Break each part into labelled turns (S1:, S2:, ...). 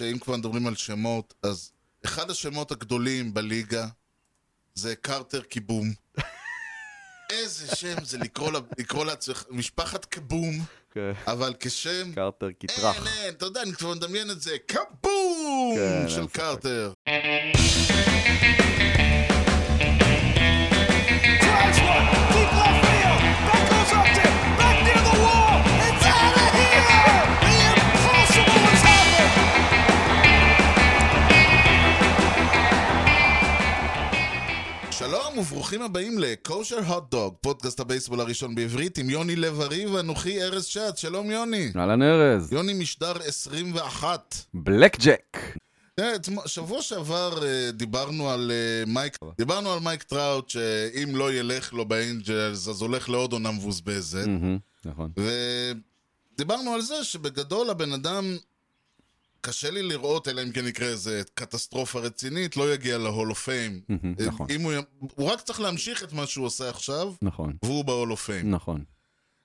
S1: שאם כבר מדברים על שמות, אז אחד השמות הגדולים בליגה זה קרטר קיבום. איזה שם זה לקרוא, לה- לקרוא לעצמך, משפחת קבום,
S2: כן.
S1: אבל כשם...
S2: קרטר
S1: אין,
S2: כטרח.
S1: אין, אתה יודע, אני כבר מדמיין את זה, קבום!
S2: כן, אין
S1: של
S2: ספק.
S1: קרטר.
S3: Drives one. Deep left field. That goes up to back near the wall. It's out of here. The impossible has happened.
S1: שלום וברוכים הבאים ל-Kosher Hot Dog, פודקאסט הבייסבול הראשון בעברית עם יוני לב-ארי ואנוכי ארז שץ. שלום יוני.
S2: אהלן ארז.
S1: יוני משדר 21.
S2: בלק ג'ק.
S1: תראה, אתמ- שבוע שעבר אה, דיברנו על אה, מייק דיברנו על מייק טראוט שאם לא ילך לו באנג'לס אז הולך לעוד עונה מבוזבזת
S2: מהמם, נכון.
S1: ודיברנו על זה שבגדול הבן אדם קשה לי לראות אלא אם כן יקרה איזה קטסטרופה רצינית לא יגיע להול אוף פיים
S2: מהמם, נכון.
S1: הוא י- הוא רק צריך להמשיך את מה שהוא עושה עכשיו
S2: נכון.
S1: והוא בהול אוף פיים
S2: נכון.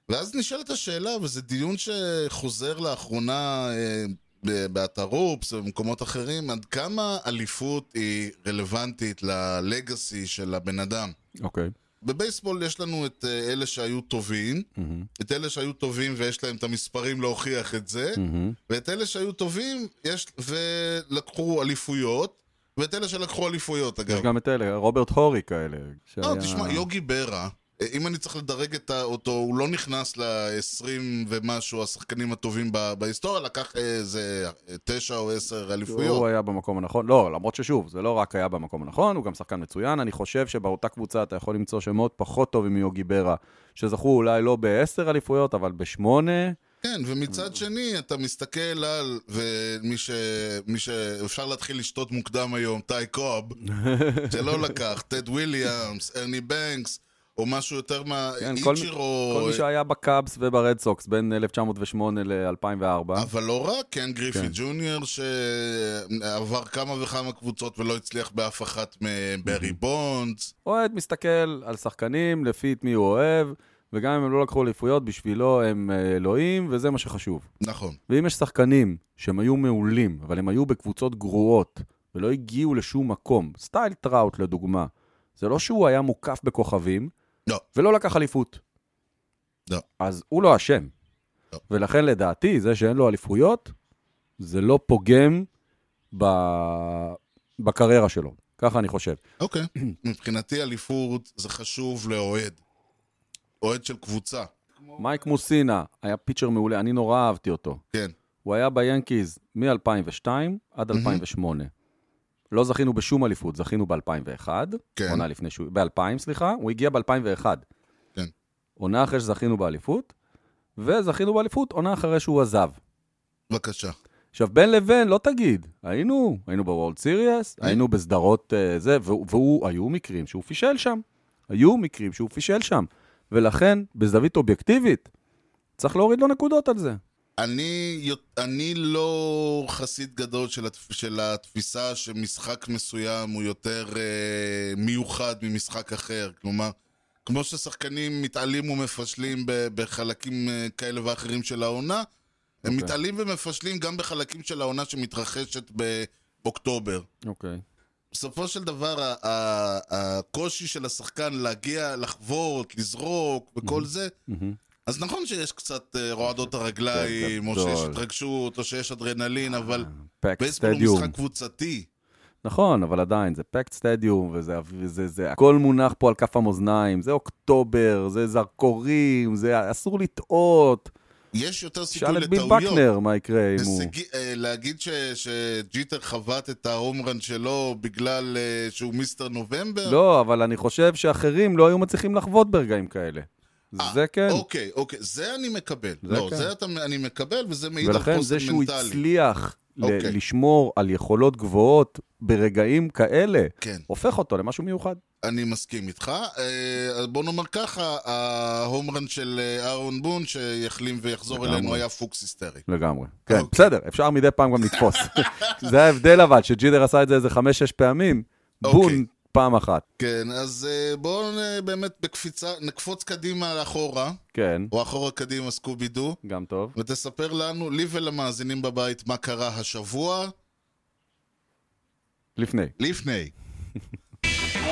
S1: ואז נשאלת השאלה, וזה דיון שחוזר לאחרונה אה, ב- באתר אופס ובמקומות אחרים, עד כמה אליפות היא רלוונטית ללגאסי של הבן אדם.
S2: אוקיי.
S1: בבייסבול יש לנו את אה, אלה שהיו טובים,
S2: מהמם,
S1: את אלה שהיו טובים ויש להם את המספרים להוכיח את זה,
S2: מהמם,
S1: ואת אלה שהיו טובים יש, ולקחו אליפויות, ואת אלה שלקחו אליפויות אגב.
S2: יש גם את אלה, רוברט הורי כאלה.
S1: לא,
S2: שהיה-
S1: תשמע, יוגי ברה, אה, אם אני צריך לדרג את ה- אותו, הוא לא נכנס ל-20 ומשהו השחקנים הטובים ב- בהיסטוריה, לקח אה, איזה 9 או 10
S2: הוא
S1: אליפויות.
S2: היה במקום הנכון, לא, למרות ששוב, זה לא רק היה במקום הנכון, הוא גם שחקן מצוין. אני חושב שבאותה קבוצה אתה יכול למצוא שמות פחות טובים מיוגי ברה, שזכו אולי לא בעשר אליפויות, אבל בשמונה.
S1: כן, ומצד שני, אתה מסתכל על, ומי ש... מי ש... אפשר להתחיל לשתות מוקדם היום, טי קוב, שלא לקח, טד וויליאמס, ארני בנקס, או משהו יותר מה...
S2: כן, כל מי- כל
S1: איצ'ירו,
S2: מי שהיה בקאבס וברד סוקס בין 1908 ל-2004.
S1: אבל לא רק, כן, גריפי
S2: כן.
S1: ג'וניור שעבר כמה וכמה קבוצות ולא הצליח באף אחת מהם, ברי בונדס.
S2: אוהד מסתכל על שחקנים לפי את מי הוא אוהב, וגם אם הם לא לקחו אליפויות, בשבילו הם אה, אלוהים, וזה מה שחשוב.
S1: נכון.
S2: ואם יש שחקנים שהם היו מעולים, אבל הם היו בקבוצות גרועות, ולא הגיעו לשום מקום, סטייל טראוט לדוגמה, זה לא שהוא היה מוקף בכוכבים,
S1: לא.
S2: ולא לקח אליפות.
S1: לא.
S2: אז הוא לא אשם.
S1: לא.
S2: ולכן לדעתי, זה שאין לו אליפויות, זה לא פוגם ב... בקריירה שלו. ככה אני חושב.
S1: אוקיי. מבחינתי אליפות זה חשוב לאוהד. אוהד של קבוצה.
S2: מייק מוסינה היה פיצ'ר מעולה, אני נורא אהבתי אותו.
S1: כן.
S2: הוא היה ביאנקיז מ-2002 עד 2008. לא זכינו בשום אליפות, זכינו ב-2001.
S1: כן.
S2: עונה לפני שהוא... ב-2000, סליחה. הוא הגיע ב-2001.
S1: כן.
S2: עונה אחרי שזכינו באליפות, וזכינו באליפות עונה אחרי שהוא עזב.
S1: בבקשה.
S2: עכשיו, בין לבין, לא תגיד, היינו, היינו בוולד סיריאס, היינו בסדרות אה, זה, והוא, והוא, היו מקרים שהוא פישל שם. היו מקרים שהוא פישל שם. ולכן, בזווית אובייקטיבית, צריך להוריד לו נקודות על זה.
S1: אני, יות- אני לא חסיד גדול של, התפ... של התפיסה שמשחק מסוים הוא יותר אה, מיוחד ממשחק אחר. כלומר, כמו ששחקנים מתעלים ומפשלים ב... בחלקים אה, כאלה ואחרים של העונה, הם
S2: אוקיי.
S1: מתעלים ומפשלים גם בחלקים של העונה שמתרחשת באוקטובר.
S2: אוקיי.
S1: בסופו של דבר, ה- ה- הקושי של השחקן להגיע, לחוות, לזרוק וכל זה,
S2: מהמם.
S1: אז נכון שיש קצת אה, רועדות
S2: כן,
S1: הרגליים, או
S2: גדול.
S1: שיש התרגשות, או שיש אדרנלין, אבל
S2: פקט
S1: בייסבול הוא
S2: סטדיום.
S1: משחק קבוצתי.
S2: נכון, אבל עדיין, זה פקט סטדיום, וזה זה, זה, הכל מונח פה על כף המאזניים, זה אוקטובר, זה זרקורים, זה אסור לטעות.
S1: יש יותר סיכוי
S2: שאל את ביל
S1: לטעויות.
S2: בקנר מה יקרה אם הוא...
S1: הישגי- אה, להגיד ש- שג'יטר חבט את ההומרן שלו בגלל אה, שהוא מיסטר נובמבר?
S2: לא, אבל אני חושב שאחרים לא היו מצליחים לחוות ברגעים כאלה.
S1: אה,
S2: זה כן.
S1: אוקיי, אוקיי, זה אני מקבל.
S2: זה
S1: לא,
S2: כן.
S1: זה אתה- אני מקבל, וזה מעיד על
S2: ולכן
S1: חוסן
S2: זה שהוא
S1: מנטלי.
S2: הצליח ל-
S1: אוקיי.
S2: לשמור על יכולות גבוהות ברגעים כאלה,
S1: כן.
S2: הופך אותו למשהו מיוחד.
S1: אני מסכים איתך. אה, בוא נאמר ככה, ההומרן של אה, אהרון בון, שיחלים ויחזור
S2: לגמרי.
S1: אלינו, היה פוקס היסטרי.
S2: לגמרי. כן,
S1: אוקיי.
S2: בסדר, אפשר מדי פעם גם לתפוס. זה ההבדל אבל, שג'ידר עשה את זה איזה חמש-שש פעמים,
S1: אוקיי.
S2: בון פעם אחת.
S1: כן, אז אה, בואו אה, באמת בקפיצה, נקפוץ קדימה לאחורה,
S2: כן,
S1: או אחורה קדימה, סקובי דו,
S2: גם טוב.
S1: ותספר לנו, לי ולמאזינים בבית, מה קרה השבוע,
S2: לפני.
S1: לפני.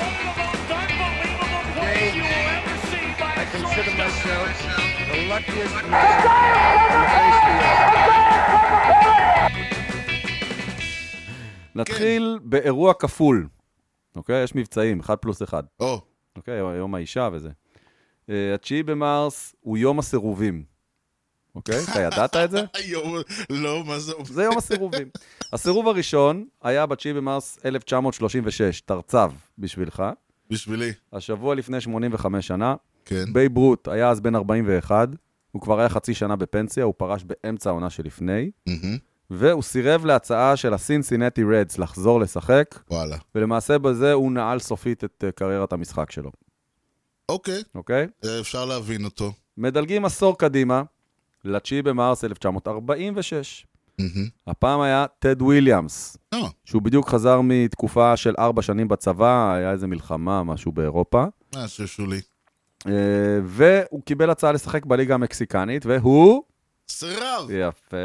S4: One of the most unbelievable plays you will ever see by a
S5: consider
S4: shortstop.
S5: myself the luckiest man.
S1: כן.
S2: נתחיל באירוע כפול. אוקיי? יש מבצעים, אחד פלוס אחד.
S1: או,
S2: אוקיי? יום האישה וזה. אה, התשיעי במרס הוא יום הסירובים. אוקיי? אתה ידעת את זה?
S1: היום, לא, מה זה,
S2: זה יום הסירובים. הסירוב הראשון היה ב-9 במרס 1936, תרצב בשבילך.
S1: בשבילי,
S2: השבוע לפני 85 שנה,
S1: כן.
S2: בייב רוט היה אז בן 41, הוא כבר היה חצי שנה בפנסיה, הוא פרש באמצע העונה שלפני,
S1: מהמם.
S2: והוא סירב להצעה של הסינסינטי רדס לחזור לשחק,
S1: וואלה.
S2: ולמעשה בזה הוא נעל סופית את אה, קריירת המשחק שלו,
S1: אוקיי,
S2: אוקיי?
S1: אה, אפשר להבין אותו.
S2: מדלגים עשור קדימה, ל-9 במרס 1946.
S1: מהמם.
S2: הפעם היה טד וויליאמס,
S1: אה,
S2: שהוא בדיוק חזר מתקופה של ארבע שנים בצבא, היה איזה מלחמה, משהו באירופה,
S1: משהו שולי.
S2: אה, והוא קיבל הצעה לשחק בליגה המקסיקנית, והוא...
S1: סירב!
S2: יפה.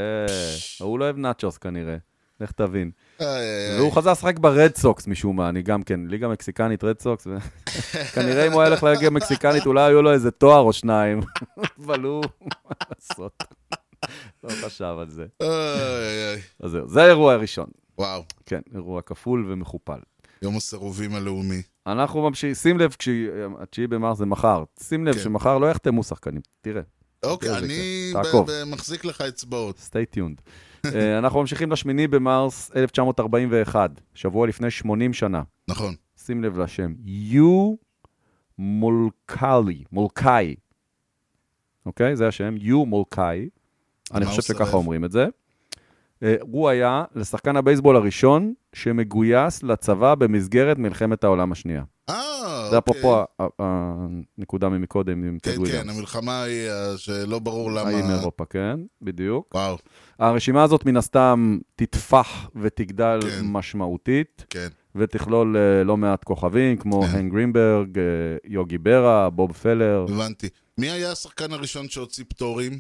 S2: הוא לא אוהב נאצ'וס כנראה, לך תבין.
S1: אה,
S2: והוא חזר לשחק ברד סוקס משום מה, אני גם כן, ליגה מקסיקנית, רד סוקס, ו- כנראה אם הוא היה הולך לליגה המקסיקנית, אולי היו לו איזה תואר או שניים, אבל הוא, מה לעשות, לא חשב על זה.
S1: איי, איי.
S2: אז זהו, זה האירוע הראשון.
S1: וואו,
S2: כן, אירוע כפול ומכופל.
S1: יום הסירובים הלאומי.
S2: אנחנו ממשיכים, שים לב, כש-9 במרס זה מחר, שים לב
S1: כן.
S2: שמחר לא יחתמו שחקנים, תראה,
S1: אוקיי,
S2: זה
S1: אני
S2: כן.
S1: ב-
S2: תעקוב.
S1: ב- מחזיק לך אצבעות.
S2: stay tuned. אה, אנחנו ממשיכים ל-8 במרס 1941, שבוע לפני 80 שנה.
S1: נכון.
S2: שים לב לשם, יו מולקלי, מולקאי. אוקיי? זה השם, יו מולקאי. אני
S1: מה
S2: חושב
S1: הוא סירב?
S2: שככה אומרים את זה. אה, הוא היה לשחקן הבייסבול הראשון שמגויס לצבא במסגרת מלחמת העולם השנייה.
S1: אה, אוקיי.
S2: זה אפרופו ה- ה- הנקודה ממקודם עם
S1: כן,
S2: טד וויליאמס.
S1: כן, המלחמה היא אה, שלא ברור למה...
S2: עם אירופה, כן, בדיוק.
S1: וואו,
S2: הרשימה הזאת מן הסתם תתפח ותגדל
S1: כן.
S2: משמעותית,
S1: כן.
S2: ותכלול אה, לא מעט כוכבים, כמו
S1: כן.
S2: הנג גרינברג, אה, יוגי ברה, בוב פלר.
S1: הבנתי. מי היה השחקן הראשון שהוציא פטורים?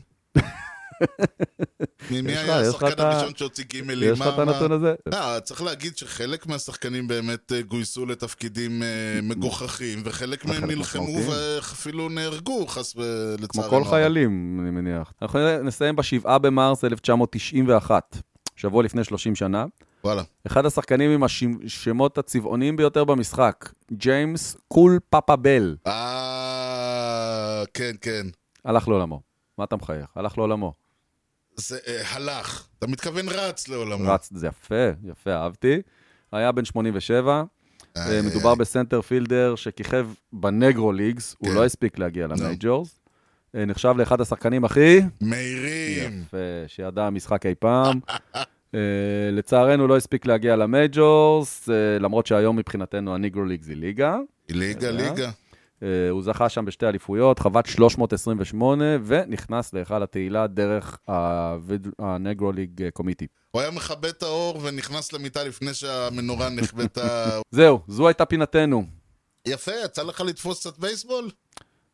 S1: מי מי
S2: יש לך-
S1: היה
S2: יש לך את
S1: השחקן
S2: ה-
S1: הראשון שהוציא גימלים?
S2: יש לך
S1: מה-
S2: את הנתון
S1: מה-
S2: הזה?
S1: אה, צריך להגיד שחלק מהשחקנים באמת אה, גויסו לתפקידים אה, מגוחכים, וחלק מהם
S2: וחלק
S1: נלחמו
S2: משמעותיים.
S1: ואפילו נהרגו, חס ולצערנו.
S2: כמו כל חיילים, אני מניח. אנחנו נסיים ב-7 במרס 1991, שבוע לפני 30 שנה.
S1: וואלה.
S2: אחד השחקנים עם השמות הצבעוניים ביותר במשחק, ג'יימס קול פאפאבל,
S1: אה... כן, כן.
S2: הלך לעולמו. מה אתה מחייך? הלך לעולמו.
S1: זה אה, הלך. אתה מתכוון רץ לעולמו.
S2: רץ, זה יפה, יפה, אהבתי. היה בן 87,
S1: אה,
S2: מדובר בסנטר פילדר שכיכב בנגרו ליגס, הוא
S1: כן.
S2: לא הספיק להגיע
S1: לא.
S2: למייג'ורס. אה, נחשב לאחד השחקנים הכי
S1: אה, מהירים.
S2: יפה שידע המשחק אי פעם. אה, לצערנו לא הספיק להגיע למייג'ורס, אה, למרות שהיום מבחינתנו הנגרו ליגס היא ליגה.
S1: ליגה,
S2: יודע.
S1: ליגה.
S2: אה, הוא זכה שם בשתי אליפויות, חבט 328, ונכנס להיכל התהילה דרך הוויד- הנגרו ליג אה, קומיטי.
S1: הוא היה מכבה את האור ונכנס למיטה לפני שהמנורה נכבתה.
S2: זהו, זו הייתה פינתנו.
S1: יפה, יצא לך לתפוס קצת בייסבול?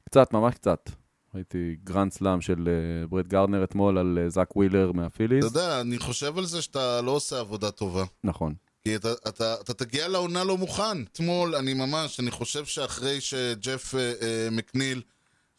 S2: קצת, ממש קצת. ראיתי גרנד סלאם של אה, ברד גרנר אתמול על אה, זאק ווילר
S1: אתה
S2: מהפיליז.
S1: יודע, אני חושב על זה שאתה לא עושה עבודה טובה.
S2: נכון.
S1: כי אתה, אתה, אתה תגיע לעונה לא מוכן. אתמול, אני ממש, אני חושב שאחרי שג'ף אה, אה, מקניל,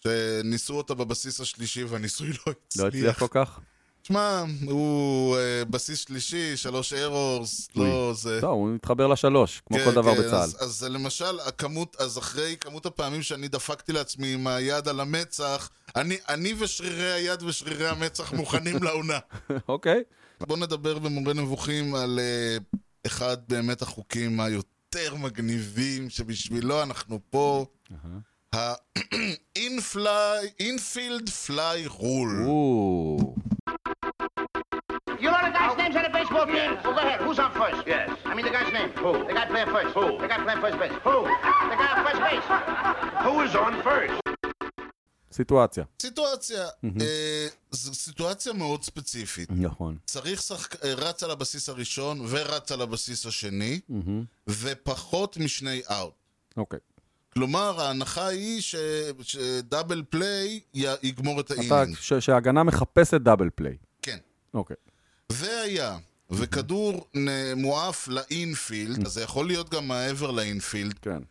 S1: שניסו אותו בבסיס השלישי והניסוי לא
S2: לא הצליח
S1: הצליח. אה.
S2: כל כך?
S1: תשמע, הוא אה, בסיס שלישי, שלוש ארורס,
S2: אוי.
S1: לא זה...
S2: לא, הוא מתחבר לשלוש, כמו
S1: כן,
S2: כל דבר
S1: כן,
S2: בצה"ל.
S1: אז, אז למשל, הכמות, אז אחרי כמות הפעמים שאני דפקתי לעצמי עם היד על המצח, אני, אני ושרירי היד ושרירי המצח מוכנים לעונה.
S2: אוקיי.
S1: בואו נדבר במורה נבוכים על uh, אחד באמת החוקים היותר מגניבים שבשבילו אנחנו פה, ה-infield fly rule.
S2: או,
S6: You know the guy's names on the baseball team? Well, go ahead. Who's on first? Yes. I mean the guy's name. Who? The guy playing first. Who? The guy playing first base. Who? The guy on first base. Who is on first?
S2: סיטואציה.
S1: סיטואציה, אה, זו סיטואציה מאוד ספציפית.
S2: נכון.
S1: צריך שחק... אה, רץ על הבסיס הראשון ורץ על הבסיס השני, ופחות משני אאוט.
S2: אוקיי.
S1: כלומר, ההנחה היא ש- שדאבל פליי י... יגמור את
S2: אתה-
S1: האינינג.
S2: ש- שההגנה מחפשת דאבל פליי.
S1: כן.
S2: אוקיי.
S1: והיה וכדור נ- מועף לאינפילד, אז זה יכול להיות גם מעבר לאינפילד,
S2: כן.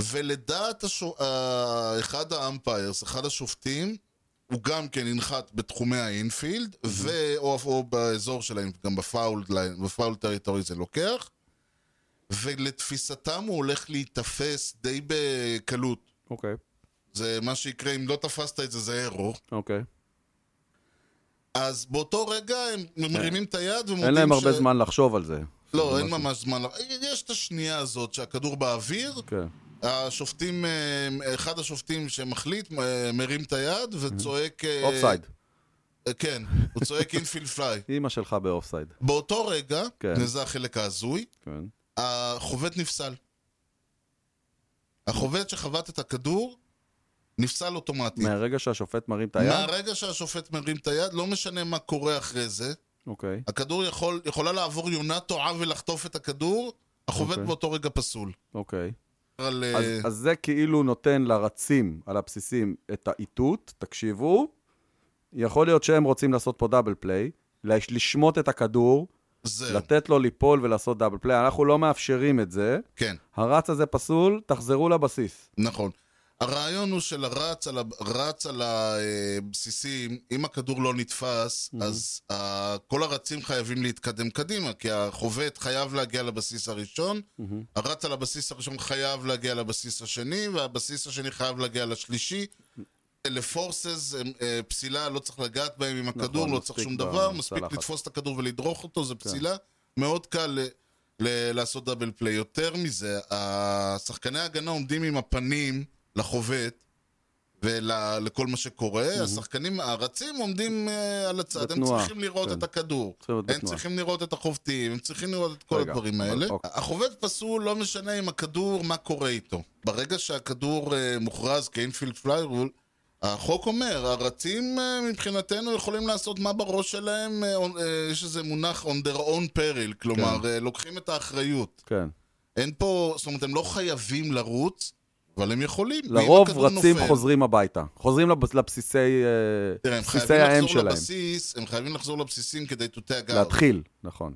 S1: ולדעת השו... אה, אחד האמפיירס, אחד השופטים, הוא גם כן ינחת בתחומי האינפילד, ו... או, או באזור שלהם, גם בפאול, ליין- בפאול טריטורי זה לוקח, ולתפיסתם הוא הולך להיתפס די בקלות.
S2: אוקיי.
S1: זה מה שיקרה, אם לא תפסת את זה, זה ארור.
S2: אוקיי.
S1: אז באותו רגע הם מרימים את היד ומודים
S2: כן. אין להם הרבה זמן לחשוב על זה.
S1: לא, אין ממש זמן. לה- יש את השנייה הזאת שהכדור באוויר,
S2: כן.
S1: השופטים, אה, אחד השופטים שמחליט אה, מרים את היד וצועק... אה,
S2: אופסייד.
S1: אה, כן, הוא צועק אינפיל פליי.
S2: אימא שלך באופסייד.
S1: באותו רגע,
S2: כן.
S1: וזה החלק ההזוי,
S2: כן.
S1: החובט נפסל. החובט שחבט את הכדור נפסל אוטומטית.
S2: מהרגע שהשופט מרים את היד?
S1: מהרגע שהשופט מרים את היד, לא משנה מה קורה אחרי זה,
S2: אוקיי.
S1: הכדור יכול, יכולה לעבור יונה טועה ולחטוף את הכדור, החובט
S2: אוקיי.
S1: באותו רגע פסול.
S2: אוקיי.
S1: על,
S2: אז,
S1: אה,
S2: אז זה כאילו נותן לרצים על הבסיסים את האיתות, תקשיבו, יכול להיות שהם רוצים לעשות פה דאבל פליי, לש- לשמוט את הכדור,
S1: זהו,
S2: לתת לו ליפול ולעשות דאבל פליי, אנחנו לא מאפשרים את זה,
S1: כן,
S2: הרץ הזה פסול, תחזרו לבסיס.
S1: נכון. הרעיון הוא שלרץ על, הב- רץ על הבסיסים, אם הכדור לא נתפס,
S2: Mhm.
S1: אז ה, כל הרצים חייבים להתקדם קדימה, כי החובט חייב להגיע לבסיס הראשון, הרץ על הבסיס הראשון חייב להגיע לבסיס השני, והבסיס השני חייב להגיע לשלישי. לפורסס, הם, אה, פסילה, לא צריך לגעת בהם עם הכדור,
S2: נכון,
S1: לא צריך
S2: מספיק כן.
S1: שום דבר,
S2: בצלחת.
S1: מספיק לתפוס את הכדור ולדרוך אותו, זה פסילה. מאוד קל ל- ל- לעשות דאבל פליי. יותר מזה, השחקני ההגנה עומדים עם הפנים לחובט ולכל מה שקורה, השחקנים הרצים עומדים אה, על הצד, הם
S2: בתנועה,
S1: צריכים לראות
S2: כן.
S1: את הכדור.
S2: צריכים להיות
S1: הם
S2: בתנועה.
S1: צריכים לראות את החובטים, הם צריכים לראות את כל
S2: רגע,
S1: הדברים
S2: אבל-
S1: האלה.
S2: אוקיי.
S1: החובט פסול, לא משנה עם הכדור, מה קורה איתו. ברגע שהכדור אה, מוכרז כאינפילד פליירול, החוק אומר, הרצים אה, מבחינתנו יכולים לעשות מה בראש שלהם, אה, אה, יש איזה מונח on their own peril, כלומר, אה, לוקחים את האחריות.
S2: כן.
S1: אין פה, זאת אומרת, הם לא חייבים לרוץ, אבל הם יכולים.
S2: לרוב
S1: ואם הכדור
S2: רצים
S1: נופל-
S2: חוזרים הביתה, חוזרים לבס- לבסיסי אה,
S1: תראה, הם
S2: בסיסי
S1: חייבים
S2: האם
S1: לחזור
S2: שלהם.
S1: לבסיס, הם חייבים לחזור לבסיסים כדי to tag out.
S2: להתחיל, נכון.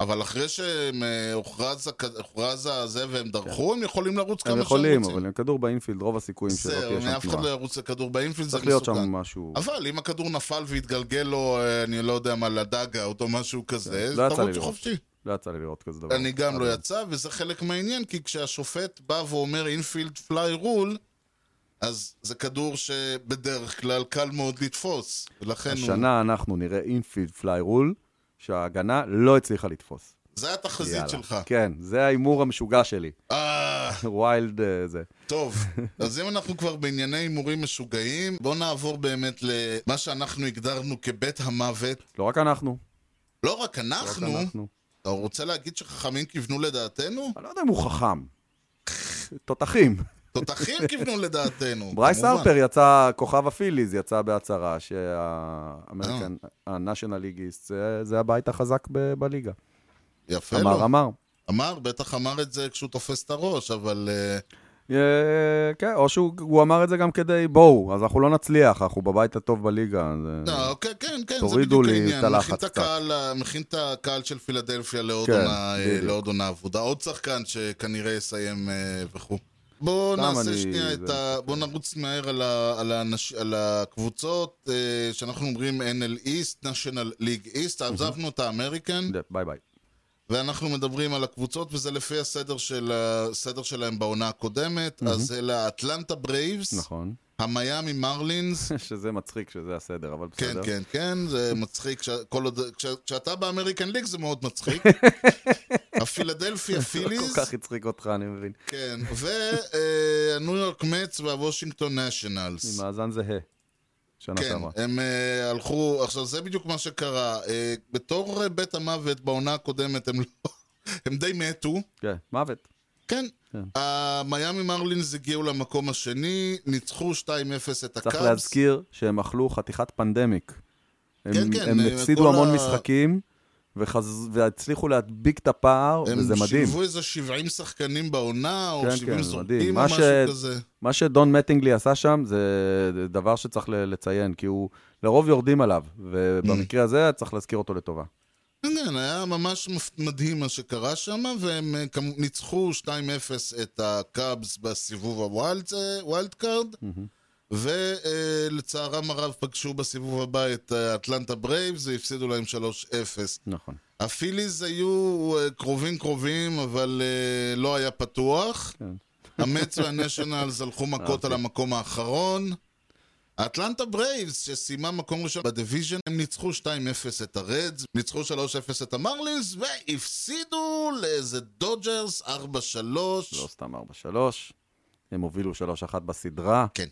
S1: אבל אחרי שהם אה, הוכרז הכ- הוכרז הזה והם דרכו, הם יכולים לרוץ כמה
S2: כן.
S1: שהם
S2: הם יכולים,
S1: רוצים.
S2: אבל עם כדור באינפילד, רוב הסיכויים שלא
S1: זהו,
S2: תהיה שם
S1: אף אחד לא
S2: תנועה.
S1: ירוץ לכדור באינפילד, זה
S2: צריך להיות
S1: מסוכן.
S2: שם משהו...
S1: אבל אם הכדור נפל והתגלגל לו, אה, אני לא יודע מה, לדאגאוט או משהו כזה,
S2: לא
S1: אז
S2: יצא לי
S1: תרוץ
S2: לראות.
S1: חופשי.
S2: לא יצא לי לראות כזה דבר.
S1: אני גם
S2: אבל-
S1: לא יצא, וזה חלק מהעניין, כי כשהשופט בא ואומר אינפילד פליי רול, אז זה כדור שבדרך כלל קל מאוד לתפוס. ולכן הוא...
S2: השנה אנחנו נראה אינפילד פליי רול, שההגנה לא הצליחה לתפוס.
S1: זה התחזית
S2: יאללה.
S1: שלך.
S2: כן, זה ההימור המשוגע שלי.
S1: אה...
S2: ווילד אה, זה.
S1: טוב, אז אם אנחנו כבר בענייני הימורים משוגעים, בואו נעבור באמת למה שאנחנו הגדרנו כבית המוות.
S2: לא רק אנחנו.
S1: לא רק
S2: רק
S1: אנחנו,
S2: אנחנו.
S1: אתה רוצה להגיד שחכמים כיוונו לדעתנו?
S2: אני לא יודע אם הוא חכם. תותחים.
S1: תותחים כיוונו לדעתנו.
S2: ברייס
S1: כמובן.
S2: הרפר יצא, כוכב הפיליז יצא בהצהרה שהאמריקן,
S1: אה.
S2: ה-National Leagueist, זה- זה הבית החזק ב- בליגה.
S1: יפה לו.
S2: אמר, אמר.
S1: אמר, בטח אמר את זה כשהוא תופס את הראש, אבל... אה,
S2: אה, כן, או שהוא הוא אמר את זה גם כדי, בואו, אז אנחנו לא נצליח, אנחנו בבית הטוב בליגה. אה, זה-
S1: לא, כן, כן, כן, זה
S2: תורידו
S1: בדיוק
S2: לי
S1: העניין.
S2: את הלחץ
S1: מכין
S2: קצת.
S1: הקהל ה- מכין את הקהל של פילדלפיה לעוד
S2: כן,
S1: עונה, אה,
S2: בדיוק.
S1: לעוד עונה עבודה. עוד שחקן שכנראה יסיים אה, וכו'. בואו
S2: סתם
S1: נעשה
S2: אני-
S1: שנייה את
S2: זה-
S1: ה... בואו נרוץ מהר על, ה... על, האנש... על הקבוצות אה, שאנחנו אומרים NL East, National League East, עזבנו את האמריקן,
S2: זה- ביי ביי.
S1: ואנחנו מדברים על הקבוצות, וזה לפי הסדר, של... הסדר שלהם בעונה הקודמת. אז אלה האטלנטה ברייבס,
S2: נכון.
S1: המיאמי מרלינס,
S2: שזה מצחיק שזה הסדר, אבל
S1: כן,
S2: בסדר.
S1: כן, כן, זה מצחיק, כשה- כל עוד- כשה- כשאתה באמריקן ליג זה מאוד מצחיק. הפילדלפיה
S2: לא
S1: פיליז,
S2: כל כך הצחיק אותך, אני מבין.
S1: כן, והניו יורק מצ והוושינגטון
S2: עם
S1: נשיונלס.
S2: מאזן זהה. שנה
S1: כן,
S2: שעברה.
S1: הם אה, הלכו, עכשיו זה בדיוק מה שקרה. אה, בתור אה, בית המוות בעונה הקודמת הם לא- הם די מתו.
S2: כן, מוות.
S1: כן. המיאמי מרלינס הגיעו למקום השני, ניצחו 2-0 את הקאבס.
S2: צריך להזכיר שהם אכלו חתיכת פנדמיק. הם-
S1: כן, כן,
S2: הם
S1: אה,
S2: הפסידו
S1: כל
S2: המון
S1: ה-
S2: משחקים, וחז- והצליחו להדביק את הפער, וזה
S1: הם
S2: מדהים.
S1: שילבו איזה 70 שחקנים בעונה, או
S2: כן,
S1: 70
S2: כן,
S1: זורקים
S2: מדהים.
S1: או
S2: מה
S1: משהו
S2: ש-
S1: כזה.
S2: מה שדון מטינגלי עשה שם, זה דבר שצריך ל- לציין, כי הוא לרוב יורדים עליו, ובמקרה הזה צריך להזכיר אותו לטובה.
S1: כן, כן, היה ממש מפ- מדהים מה שקרה שם, והם אה, כמו- ניצחו 2-0 את הקאבס בסיבוב הווילד אה, ווילד קארד, ולצערם הרב פגשו בסיבוב הבא את אה, אטלנטה ברייבס, והפסידו להם 3-0.
S2: נכון.
S1: הפיליז היו אה, קרובים קרובים, אבל אה, לא היה פתוח.
S2: כן.
S1: המץ והנשיונלס הלכו
S2: אה,
S1: מכות
S2: אוקיי.
S1: על המקום האחרון. האטלנטה ברייבס, שסיימה מקום ראשון בדיוויז'ן, הם ניצחו 2-0 את הרדס, ניצחו 3-0 את המרלינס, והפסידו לאיזה דודג'רס 4-3.
S2: לא סתם 4-3. הם הובילו 3-1 בסדרה.
S1: כן.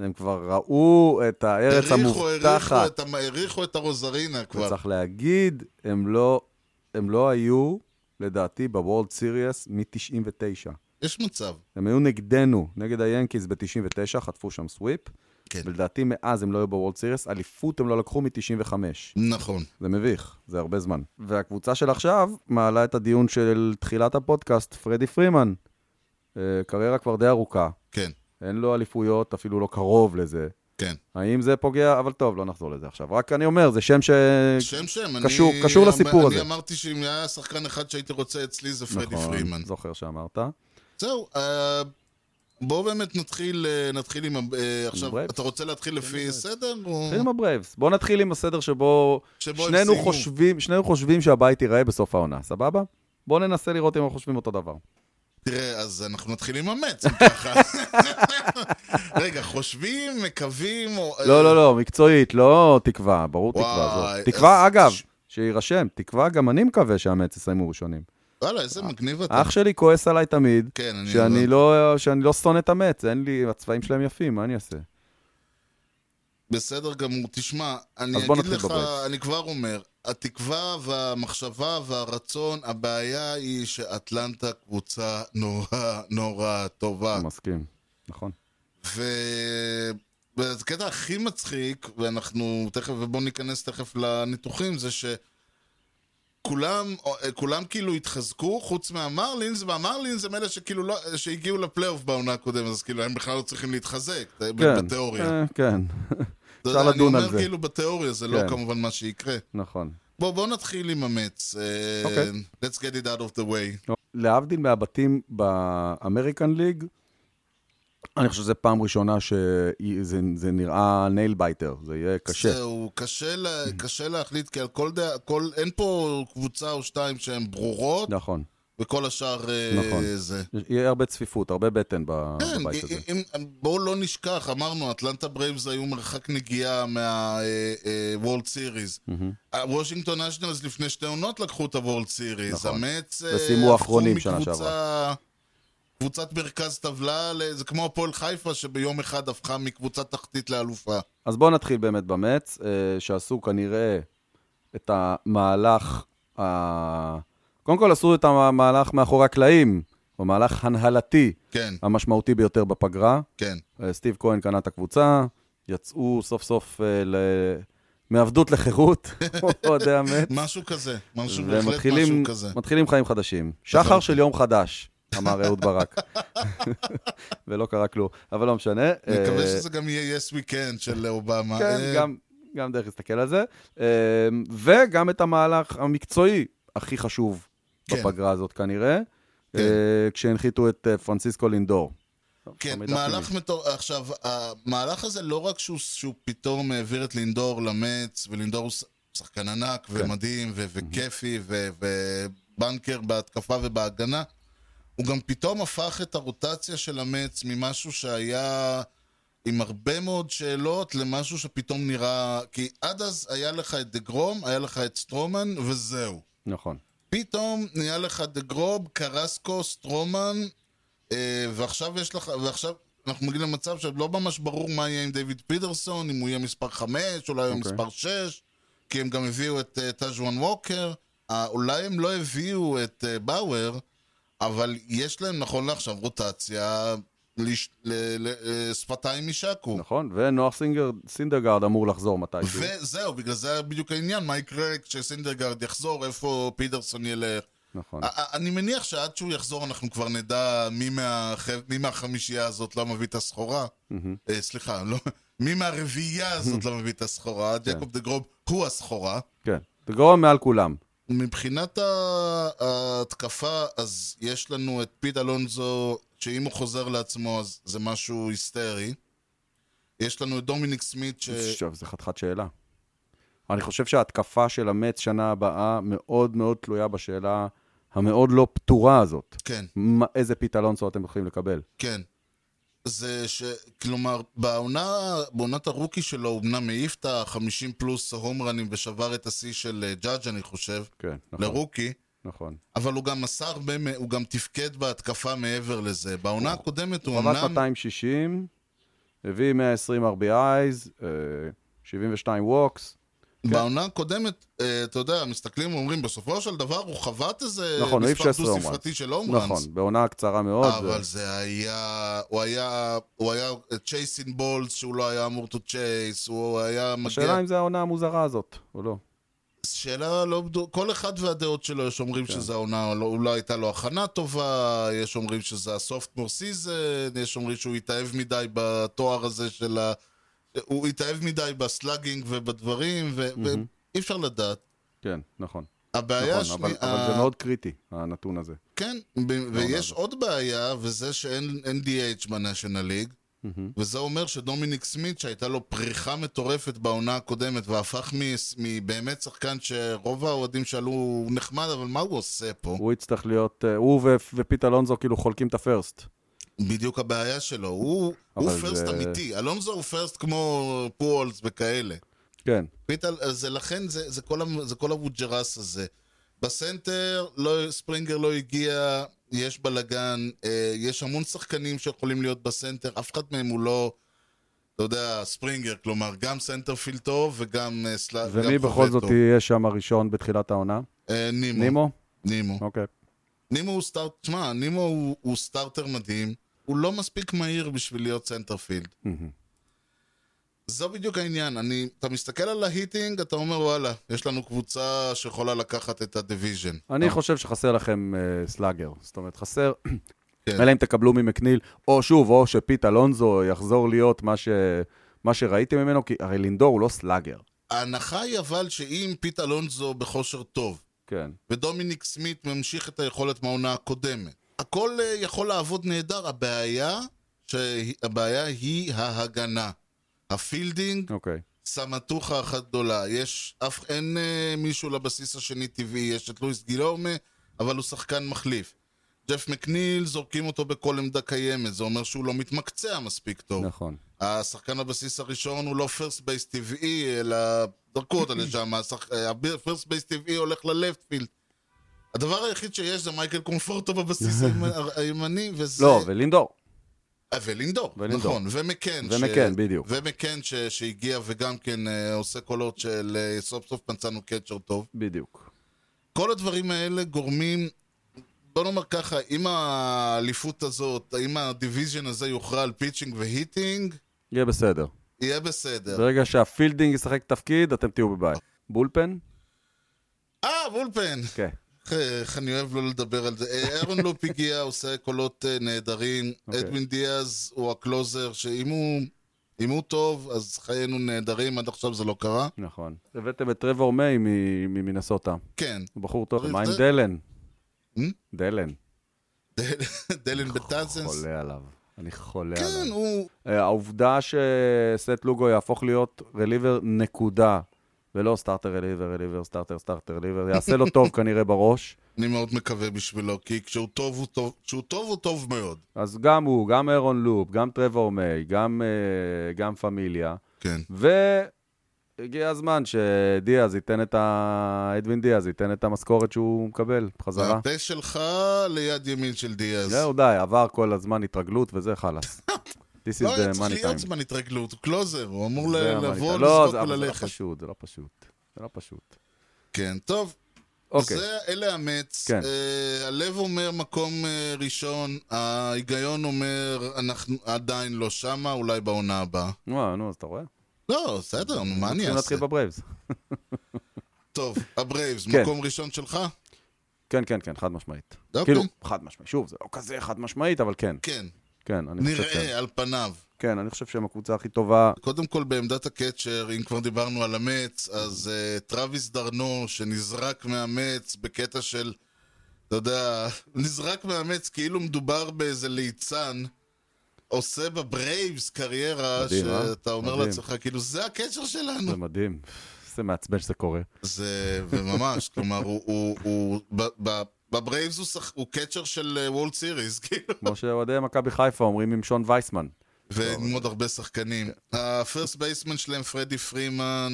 S2: הם כבר ראו את הארץ
S1: העריכו, העריכו
S2: המובטחת.
S1: את המ- העריכו את הרוזרינה כבר.
S2: וצריך להגיד, הם לא, הם לא היו, לדעתי, בוולד סיריוס מ-99.
S1: יש מצב.
S2: הם היו נגדנו, נגד היאנקיז ב-99, חטפו שם סוויפ.
S1: כן.
S2: ולדעתי מאז הם לא היו בוולד סיריוס, אליפות הם לא לקחו מ-95.
S1: נכון.
S2: זה מביך, זה הרבה זמן. והקבוצה של עכשיו מעלה את הדיון של תחילת הפודקאסט, פרדי פרימן. אה, קריירה כבר די ארוכה,
S1: כן,
S2: אין לו אליפויות, אפילו לא קרוב לזה.
S1: כן.
S2: האם זה פוגע? אבל טוב, לא נחזור לזה עכשיו. רק אני אומר, זה שם ש...
S1: שם שם,
S2: קשור-
S1: אני,
S2: קשור
S1: אמר-
S2: לסיפור הזה.
S1: אני אמרתי שאם היה שחקן אחד שהייתי רוצה אצלי זה פרדי
S2: נכון,
S1: פרימן.
S2: זוכר שאמרת.
S1: זהו, אה, בואו באמת נתחיל, אה, נתחיל עם, ה- אה, עכשיו,
S2: ברייבס?
S1: אתה רוצה להתחיל לפי סדר? או-
S2: נתחיל כן, עם הברייבס. בואו נתחיל עם הסדר שבו
S1: שבו הם
S2: שנינו
S1: סיימו.
S2: חושבים, שנינו חושבים שהבית ייראה בסוף העונה, סבבה? בואו ננסה לראות אם אנחנו חושבים אותו דבר.
S1: תראה, אז אנחנו נתחיל עם המץ, אם ככה. רגע, חושבים, מקווים, או...
S2: לא, לא, לא, מקצועית, לא תקווה, ברור
S1: אה. וואי,
S2: תקווה. עזוב.
S1: אז-
S2: תקווה, אגב,
S1: ש-
S2: שיירשם, תקווה, גם אני מקווה שהמץ יסיימו ראשונים.
S1: וואלה, איזה מגניב אתה.
S2: אח שלי כועס עליי תמיד,
S1: כן, אני...
S2: שאני לא- שאני לא שונא את המץ, אין לי, הצבעים שלהם יפים, מה אני אעשה?
S1: בסדר גמור. תשמע,
S2: אז
S1: אני
S2: בוא
S1: אגיד
S2: נתחיל
S1: לך,
S2: בברייבס.
S1: אני כבר אומר, התקווה והמחשבה והרצון, הבעיה היא שאטלנטה קבוצה נורא נורא טובה.
S2: מסכים, נכון.
S1: ו- והקטע הכי מצחיק, ואנחנו תכף, ובואו ניכנס תכף לניתוחים, זה שכולם כולם כאילו התחזקו, חוץ מהמרלינס, והמרלינס הם אלה שכאילו לא, שהגיעו לפלייאוף בעונה הקודמת, אז כאילו הם בכלל לא צריכים להתחזק,
S2: כן,
S1: בתיאוריה.
S2: אה, כן,
S1: אתה
S2: אפשר
S1: יודע,
S2: לדון על
S1: אני
S2: זה.
S1: אומר כאילו בתיאוריה, זה
S2: כן.
S1: לא כמובן מה שיקרה.
S2: נכון.
S1: בואו בוא נתחיל עם המץ. אה,
S2: אוקיי.
S1: Let's get it out of the way.
S2: להבדיל מהבתים באמריקן ליג, אני חושב שזו פעם ראשונה שזה זה נראה נייל בייטר, זה יהיה קשה.
S1: זהו, קשה, לה, קשה להחליט, כי על כל דעה, כל, אין פה קבוצה או שתיים שהן ברורות.
S2: נכון.
S1: וכל השאר אה,
S2: נכון.
S1: זה.
S2: יהיה הרבה צפיפות, הרבה בטן ב-
S1: כן,
S2: בבית הזה.
S1: אם- אם- בואו לא נשכח, אמרנו, אטלנטה ברייבס היו מרחק נגיעה מה-World Series. וושינגטון אשנלס לפני שתי עונות לקחו את ה-World Series.
S2: נכון.
S1: המץ אה,
S2: וסיימו
S1: הפכו
S2: האחרונים שנה
S1: מקבוצה-
S2: שעברה.
S1: קבוצת מרכז טבלה, ל- זה כמו הפועל חיפה שביום אחד הפכה מקבוצה תחתית לאלופה.
S2: אז בואו נתחיל באמת במץ, אה, שעשו כנראה את המהלך, ה- קודם כל עשו את המהלך מאחורי הקלעים, המהלך הנהלתי
S1: כן,
S2: המשמעותי ביותר בפגרה.
S1: כן.
S2: אה, סטיב כהן קנה את הקבוצה, יצאו סוף סוף אה, ל... מעבדות לחירות, אוהדי המץ,
S1: משהו כזה, משהו בהחלט משהו
S2: ומתחילים
S1: כזה. נכון.
S2: מתחילים אה, חיים חדשים. שחר של יום חדש, אמר אהוד ברק. ולא קרה כלום, אבל לא משנה.
S1: נקווה
S2: אה,
S1: שזה גם יהיה yes we can של אובמה.
S2: כן,
S1: אה,
S2: גם, גם דרך להסתכל על זה. אה, וגם את המהלך המקצועי הכי חשוב
S1: כן.
S2: בפגרה הזאת כנראה,
S1: כן.
S2: אה, כשהנחיתו את אה, פרנסיסקו לינדור.
S1: כן,
S2: המידע
S1: מהלך
S2: פנימי.
S1: מטור... עכשיו, המהלך הזה לא רק שהוא, שהוא פתאום העביר את לינדור למץ, ולינדור הוא ש- שחקן ענק
S2: כן.
S1: ומדהים ו- וכיפי ו- ובנקר בהתקפה ובהגנה, הוא גם פתאום הפך את הרוטציה של המץ ממשהו שהיה עם הרבה מאוד שאלות למשהו שפתאום נראה... כי עד אז היה לך את דגרום, היה לך את סטרומן, וזהו.
S2: נכון.
S1: פתאום נהיה לך דגרוב, קרסקו, סטרומן, אה, ועכשיו יש לך, ועכשיו אנחנו מגיעים למצב שלא ממש ברור מה יהיה עם דיוויד פיטרסון, אם הוא יהיה מספר 5, אולי הוא יהיה
S2: אוקיי.
S1: מספר 6, כי הם גם הביאו את אה, טאז'ואן ווקר, אה, אולי הם לא הביאו את אה, באואר, אבל יש להם נכון לעכשיו רוטציה לש- ל- ל- אה, שפתיים משקו.
S2: נכון, ונוח סינגר, סינדרגרד אמור לחזור מתישהו.
S1: וזהו, בגלל זה היה בדיוק העניין, מה יקרה כשסינדרגרד יחזור, איפה פיטרסון ילך.
S2: נכון.
S1: א- א- אה, אני מניח שעד שהוא יחזור אנחנו כבר נדע מי, מהח... מי מהחמישייה הזאת לא מביא את הסחורה. אה, סליחה, לא... מי מהרביעייה הזאת לא מביא את הסחורה. ג'קוב דה גרוב הוא הסחורה.
S2: כן. זה גרוע מעל כולם.
S1: מבחינת ה- ההתקפה, אז יש לנו את פיט אלונזו, שאם הוא חוזר לעצמו, אז זה משהו היסטרי. יש לנו את דומיניק סמית, ש...
S2: עכשיו, זו חתיכת שאלה. אני חושב שההתקפה של המץ שנה הבאה מאוד מאוד תלויה בשאלה המאוד לא פתורה הזאת.
S1: כן,
S2: מה- איזה פיט אלונסו אתם הולכים לקבל?
S1: כן. זה ש... כלומר, בעונה, בעונת הרוקי שלו, הוא אמנם העיף את ה-50 פלוס הומרנים ושבר את השיא של אה, ג'אג', אני חושב,
S2: כן, נכון.
S1: לרוקי.
S2: נכון.
S1: אבל הוא גם מסר, הרבה מ- הוא גם תפקד בהתקפה מעבר לזה. בעונה
S2: נכון.
S1: הקודמת הוא
S2: עבד
S1: אמנם...
S2: 260, הביא 120 RBIs, אה, 72 ווקס.
S1: בעונה הקודמת, אה, אתה יודע, מסתכלים ואומרים, בסופו של דבר הוא חבט איזה
S2: נכון, הוא העיף
S1: אה, מספר
S2: 16 הומרנס.
S1: דו-ספרתי של הומרנס.
S2: נכון, בעונה קצרה מאוד. אה,
S1: אבל זה היה, הוא היה, הוא היה צ'ייסין בולס שהוא לא היה אמור to צ'ייס, הוא היה מגיע...
S2: השאלה אם זה העונה המוזרה הזאת, או לא.
S1: שאלה לא בדו... כל אחד והדעות שלו, יש אומרים כן. שזו העונה, לא, אולי הייתה לו הכנה טובה, יש אומרים שזה הסופטמור סיזן, יש אומרים שהוא התאהב מדי בתואר הזה של ה... הוא התאהב מדי בסלאגינג ובדברים, ו... mm-hmm. ואי אפשר לדעת.
S2: כן, נכון.
S1: הבעיה
S2: נכון,
S1: השנייה...
S2: אבל, אבל זה מאוד קריטי, הנתון הזה.
S1: כן, ב-
S2: לא,
S1: ויש עוד בעיה, וזה שאין אין DH בניישנל ליג, וזה אומר שדומיניק סמית, שהייתה לו פריחה מטורפת בעונה הקודמת, והפך מ- מבאמת שחקן שרוב האוהדים שאלו, הוא נחמד, אבל מה הוא עושה פה?
S2: הוא יצטרך להיות, אה, הוא ו- ופיט אלונזו כאילו חולקים את הפרסט.
S1: בדיוק הבעיה שלו, הוא
S2: אבל
S1: הוא פרסט
S2: זה-
S1: אמיתי. אלונזו הוא פרסט כמו פולס וכאלה.
S2: כן,
S1: פיטל, אז זה לכן, זה, זה כל, המ- זה כל הווג'רס הזה. בסנטר, לא, ספרינגר לא הגיע, יש בלאגן, אה, יש המון שחקנים שיכולים להיות בסנטר, אף אחד מהם הוא לא, אתה יודע, ספרינגר, כלומר, גם סנטרפילד טוב וגם אה, סלאב,
S2: ומי בכל זאת יהיה שם הראשון בתחילת העונה?
S1: אה, נימו. נימו?
S2: נימו?
S1: נימו.
S2: אוקיי.
S1: נימו הוא סטארט, תשמע, נימו הוא, הוא סטארטר מדהים, הוא לא מספיק מהיר בשביל להיות סנטרפילד. זה בדיוק העניין, אני, אתה מסתכל על ההיטינג, אתה אומר וואלה, יש לנו קבוצה שיכולה לקחת את הדיוויז'ן.
S2: אני חושב שחסר לכם אה, סלאגר. זאת אומרת, חסר,
S1: כן.
S2: אלא אם תקבלו ממקניל, או שוב, או שפיט אלונזו יחזור להיות מה ש- מה שראיתם ממנו, כי הרי לינדור הוא לא סלאגר.
S1: ההנחה היא אבל שאם פיט אלונזו בכושר טוב,
S2: כן.
S1: ודומיניק סמית ממשיך את היכולת מהעונה הקודמת, הכל אה, יכול לעבוד נהדר, הבעיה, שהבעיה היא ההגנה. הפילדינג,
S2: אוקיי.
S1: סמטוחה אחת גדולה. יש, אף אין אה, מישהו לבסיס השני טבעי, יש את לואיס גילאומה, אבל הוא שחקן מחליף. ג'ף מקניל, זורקים אותו בכל עמדה קיימת, זה אומר שהוא לא מתמקצע מספיק טוב.
S2: נכון.
S1: השחקן הבסיס הראשון הוא לא פרסט בייס טבעי, אלא דרכו אותו לשם, אה, הפרסט בייס טבעי הולך ללפט פילד. הדבר היחיד שיש זה מייקל קומפורטו בבסיס הימ- הימני, וזה...
S2: לא, ולינדור.
S1: אה, ולינדור,
S2: ולינדור.
S1: נכון, ומקן.
S2: ומקן, בדיוק.
S1: ומקן כן ש... שהגיע וגם כן אה, עושה קולות של אה, סוף סוף מצאנו קצ'ר טוב.
S2: בדיוק.
S1: כל הדברים האלה גורמים, בוא נאמר ככה, אם האליפות הזאת, אם הדיוויז'ן הזה יוכרע על פיצ'ינג והיטינג,
S2: יהיה בסדר.
S1: יהיה בסדר.
S2: ברגע שהפילדינג ישחק תפקיד, אתם תהיו בבית. בולפן?
S1: אה, וולפן!
S2: כן.
S1: איך אני אוהב לא לדבר על זה. אה, אהרון לופ הגיע, עושה קולות אה, נהדרים.
S2: אוקיי.
S1: אדווין דיאז הוא הקלוזר, שאם הוא... אם הוא טוב, אז חיינו נהדרים, עד עכשיו זה לא קרה.
S2: נכון. הבאתם את טרוור מיי מ- ממינסוטה.
S1: כן,
S2: הוא בחור טוב.
S1: צריך
S2: מה עם
S1: זה-
S2: דלן?
S1: Hmm?
S2: דלן.
S1: דל- דלן בטאזנס.
S2: חולה עליו. אני חולה
S1: כן,
S2: עליו.
S1: הוא...
S2: אה, העובדה שסט לוגו יהפוך להיות רליבר נקודה, ולא סטארטר רליבר, רליבר, סטארטר, סטארטר רליבר, יעשה לו טוב כנראה בראש.
S1: אני מאוד מקווה בשבילו, כי כשהוא טוב, הוא טוב, כשהוא טוב, הוא טוב מאוד.
S2: אז גם הוא, גם אירון לופ, גם טרוור מיי, גם, אה, גם פמיליה.
S1: כן.
S2: והגיע הזמן שדיאז ייתן את ה... אדווין דיאז ייתן את המשכורת שהוא מקבל בחזרה.
S1: והפה שלך ליד ימין של דיאז.
S2: זהו, די, עבר כל הזמן התרגלות וזה חלאס. This is
S1: לא היה
S2: the
S1: צריך
S2: money
S1: להיות
S2: time.
S1: זמן התרגלות, הוא קלוזר, הוא אמור
S2: זה
S1: ל-
S2: ה-money
S1: לבוא,
S2: time. לא,
S1: לזרוק
S2: זה- אבל זה לא
S1: וללכת.
S2: פשוט, זה לא פשוט. זה לא פשוט.
S1: כן, טוב.
S2: אוקיי,
S1: זה, אלה המץ.
S2: כן.
S1: אה, הלב אומר מקום אה, ראשון, ההיגיון אומר אנחנו עדיין לא שמה, אולי בעונה הבאה.
S2: נו, נו, אז אתה רואה?
S1: לא, בסדר, נו, מה אני
S2: צריכים
S1: אעשה?
S2: להתחיל בברייבס.
S1: טוב, הברייבס,
S2: כן.
S1: מקום ראשון שלך?
S2: כן, כן, כן, חד משמעית.
S1: אוקיי.
S2: כאילו, חד משמעית. שוב, זה לא כזה חד משמעית, אבל כן.
S1: כן.
S2: כן, אני חושב שהם.
S1: נראה, על פניו.
S2: כן, אני חושב שהם הקבוצה הכי טובה.
S1: קודם כל, בעמדת הקצ'ר, אם כבר דיברנו על המץ, אז uh, טרוויס דרנו, שנזרק מהמץ בקטע של, אתה יודע, נזרק מהמץ כאילו מדובר באיזה ליצן, עושה בברייבס קריירה,
S2: מדהים, אה?
S1: שאתה אומר
S2: מדהים.
S1: לעצמך, כאילו, זה הקצ'ר שלנו.
S2: זה מדהים. זה מעצבן שזה קורה.
S1: זה, וממש, כלומר, הוא, הוא, הוא, ב- ב- בברייבס הוא, שח- הוא קצ'ר של אה, וולד סיריס, כאילו.
S2: כמו שאוהדי מכבי חיפה אומרים עם שון וייסמן.
S1: ועם עוד הרבה שחקנים.
S2: כן.
S1: הפרסט בייסמן שלהם, פרדי פרימן,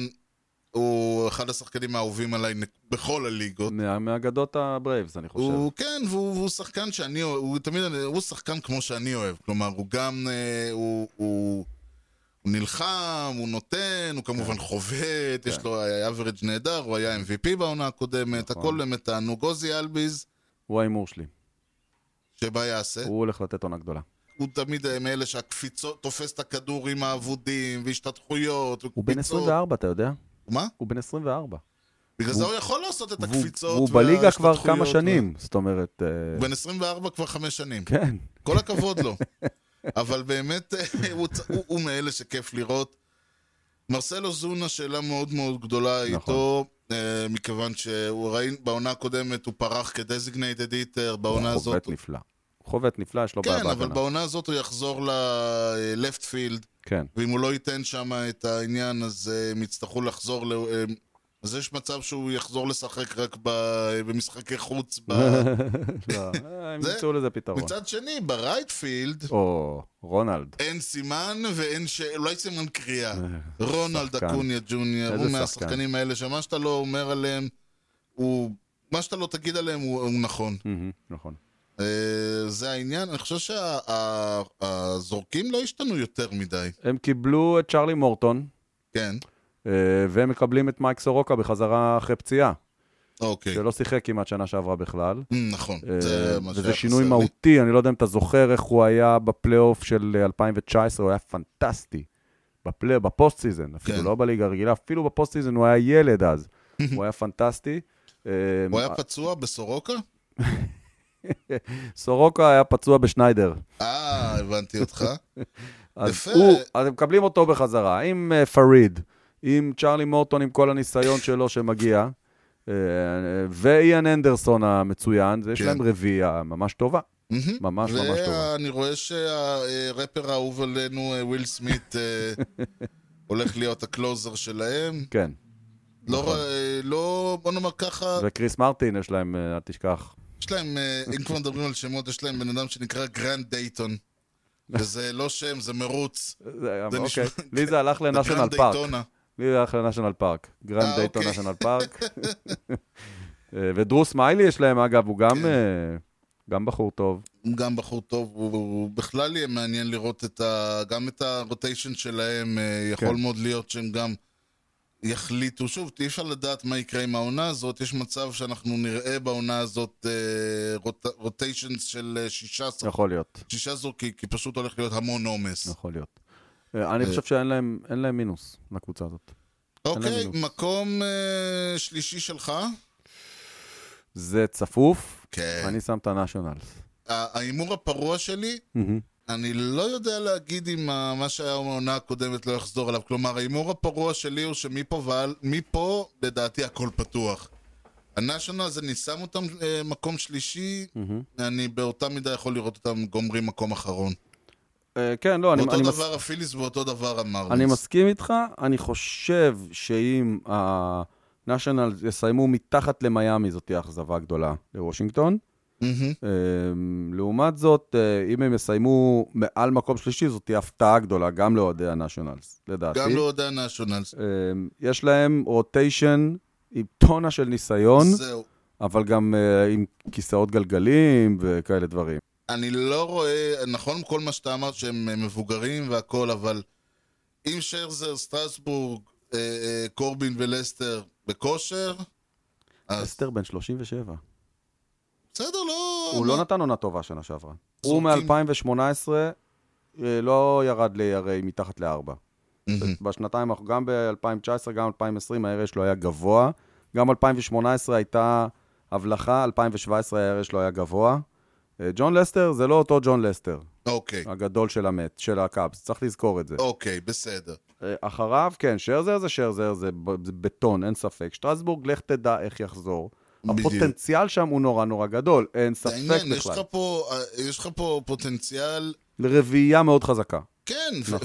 S1: הוא אחד השחקנים האהובים עליי נק- בכל הליגות.
S2: מה- מאגדות הברייבס, אני חושב.
S1: הוא כן, והוא והוא שחקן שאני אוהב, הוא תמיד, הוא שחקן כמו שאני אוהב. כלומר, הוא גם, אה, הוא... הוא... הוא נלחם, הוא נותן, הוא
S2: כן.
S1: כמובן חובט, יש לו average נהדר, הוא היה MVP בעונה הקודמת,
S2: נכון.
S1: הכל באמת תענוג. עוזי אלביז,
S2: הוא ההימור שלי.
S1: שבה יעשה.
S2: הוא הולך לתת עונה גדולה.
S1: הוא תמיד אה, מאלה שהקפיצות, תופס את הכדור עם האבודים, והשתתחויות,
S2: הוא בן 24, אתה יודע?
S1: מה?
S2: הוא בן 24.
S1: בגלל זה הוא יכול לעשות את
S2: והוא-
S1: הקפיצות
S2: והוא בליגה כבר
S1: וההשתתחויות
S2: כמה
S1: וה-
S2: שנים. זאת אומרת, אה,
S1: הוא בן 24 כבר חמש שנים.
S2: כן.
S1: כל הכבוד לו. אבל באמת, אה, הוא צ- הוא הוא מאלה שכיף לראות. מרסלו זונה, שאלה מאוד מאוד גדולה
S2: נכון.
S1: איתו, אה, מכיוון שהוא ראינו, בעונה הקודמת הוא פרח כדזיגנייטד איטר, בעונה
S2: הוא
S1: הזאת...
S2: חובט נפלא. הוא חובט נפלא, יש לו בעיה
S1: כן, אבל
S2: בהגנה.
S1: בעונה הזאת הוא יחזור ל-left field,
S2: כן.
S1: ואם הוא לא ייתן שם את העניין, אז אה, הם יצטרכו לחזור ל... אה, אז יש מצב שהוא יחזור לשחק רק ב... במשחקי חוץ. ב...
S2: לא, אה, הם
S1: זה-
S2: ימצאו לזה פתרון.
S1: מצד שני, ברייטפילד,
S2: או, רונלד.
S1: אין סימן ואין ש... אולי סימן קריאה. רונלד
S2: אה, שחקן.
S1: אקוניה ג'וניור, הוא
S2: איזה שחקן.
S1: מהשחקנים האלה, שמה שאתה לא אומר עליהם, הוא... מה שאתה לא תגיד עליהם הוא, הוא נכון.
S2: מהמם, נכון.
S1: אה, זה העניין, אני חושב שהזורקים לא השתנו יותר מדי.
S2: הם קיבלו את צ'רלי מורטון,
S1: כן,
S2: אה, והם מקבלים את מייק סורוקה בחזרה אחרי פציעה,
S1: אוקיי.
S2: שלא שיחק כמעט שנה שעברה בכלל.
S1: אמ, נכון,
S2: לא- אה,
S1: זה מה
S2: וזה
S1: שהיה
S2: שינוי
S1: חסר לי.
S2: מהותי, אני לא יודע אם אתה זוכר איך הוא היה בפלייאוף של אה, 2019, הוא היה פנטסטי. בפלי- בפוסט סיזן, אפילו
S1: כן.
S2: לא בליגה הרגילה, אפילו בפוסט סיזן הוא היה ילד אז. הוא היה פנטסטי. אה,
S1: הוא היה פצוע בסורוקה?
S2: סורוקה היה פצוע בשניידר.
S1: אה, הבנתי אותך.
S2: אז
S1: יפה.
S2: הוא, אז הם מקבלים אותו בחזרה, עם אה, פריד, עם צ'רלי מורטון, עם כל הניסיון שלו שמגיע, אה, אה, ואיאן אנדרסון המצוין, זה יש
S1: כן.
S2: להם רביעייה ממש טובה.
S1: מהמם.
S2: ממש ממש טובה.
S1: ואני רואה שהרפר האהוב עלינו, אה, וויל סמית, אה, הולך להיות הקלוזר שלהם.
S2: כן,
S1: לא,
S2: נכון.
S1: אה, לא, בוא נאמר ככה,
S2: וקריס מרטין יש להם, אה, אל תשכח.
S1: יש להם, אה, אם כבר מדברים על שמות, יש להם בן אדם שנקרא גרנד דייטון. וזה לא שם, זה מרוץ.
S2: זה היה-
S1: זה
S2: אוקיי.
S1: נשמע-
S2: לי זה הלך
S1: זה
S2: לנשיונל
S1: גרנד
S2: פארק.
S1: דייטונה.
S2: לי זה הלך לנשיונל פארק. גרנד
S1: אה,
S2: דייטון
S1: אוקיי.
S2: נשיונל פארק. אה, ודרו סמיילי יש להם, אגב, הוא
S1: כן.
S2: גם... אה, גם בחור טוב,
S1: הוא גם בחור טוב, הוא- הוא בכלל יהיה מעניין לראות את ה... גם את הרוטיישן שלהם, אה, יכול
S2: כן.
S1: מאוד להיות שהם גם יחליטו. שוב, אי אפשר לדעת מה יקרה עם העונה הזאת, יש מצב שאנחנו נראה בעונה הזאת רוטיישן של אה, שישה, שח-
S2: יכול להיות,
S1: שישה זורקים, כי פשוט הולך להיות המון עומס.
S2: יכול להיות. אה, אני חושב שאין להם אין להם מינוס לקבוצה הזאת.
S1: אוקיי,
S2: מינוס.
S1: מקום אה, שלישי שלך?
S2: זה צפוף,
S1: כן.
S2: אני שם את הנשיונלס.
S1: ה- ההימור הפרוע שלי, אני לא יודע להגיד אם ה- מה שהיה בעונה הקודמת לא יחזור עליו. כלומר, ההימור הפרוע שלי הוא שמפה ועל, מפה, לדעתי, הכל פתוח. הנשיונלס, אני שם אותם אה, מקום שלישי, אני באותה מידה יכול לראות אותם גומרים מקום אחרון.
S2: אה, כן, לא, אני,
S1: אותו
S2: אני, מס...
S1: דבר הפיליס ואותו דבר המרלינס.
S2: אני מסכים איתך, אני חושב שאם הנשיונל יסיימו מתחת למיאמי, זאת תהיה אכזבה גדולה לוושינגטון.
S1: מהמם.
S2: אה, לעומת זאת, אה, אם הם יסיימו מעל מקום שלישי, זאת תהיה הפתעה גדולה גם לאוהדי הנשיונלס, לדעתי.
S1: גם לא יודע הנשיונלס.
S2: אה, יש להם רוטיישן עם טונה של ניסיון,
S1: זהו.
S2: אבל גם אה, עם כיסאות גלגלים וכאלה דברים.
S1: אני לא רואה, נכון כל מה שאתה אמרת שהם אה, מבוגרים והכל, אבל אם שרזר, סטרסבורג, אה, אה, קורבין ולסטר בכושר, אז
S2: אסתר בן 37.
S1: בסדר, לא...
S2: הוא לא נתן עונה טובה שנה שעברה. הוא
S1: זורקים.
S2: מ-2018 לא ירד לי הרי מתחת לארבע. בשנתיים, האח- גם ב-2019, גם ב-2020, ה-RA שלו לא היה גבוה. גם 2018 הייתה הבלחה, 2017 ה-RA שלו היה גבוה. אה, ג'ון לסטר זה לא אותו ג'ון לסטר.
S1: אוקיי,
S2: הגדול של המת, של הקאבס, צריך לזכור את זה.
S1: אוקיי, בסדר.
S2: אה, אחריו, כן, שרזר זה שרזר, זה ב- זה בטון, אין ספק. שטרסבורג, לך תדע איך יחזור.
S1: בדיוק.
S2: הפוטנציאל שם הוא נורא נורא גדול, אין ספק
S1: העניין, יש לך
S2: בכלל.
S1: פה, אה, יש לך פה פוטנציאל,
S2: רביעייה מאוד חזקה.
S1: כן,
S2: נכון.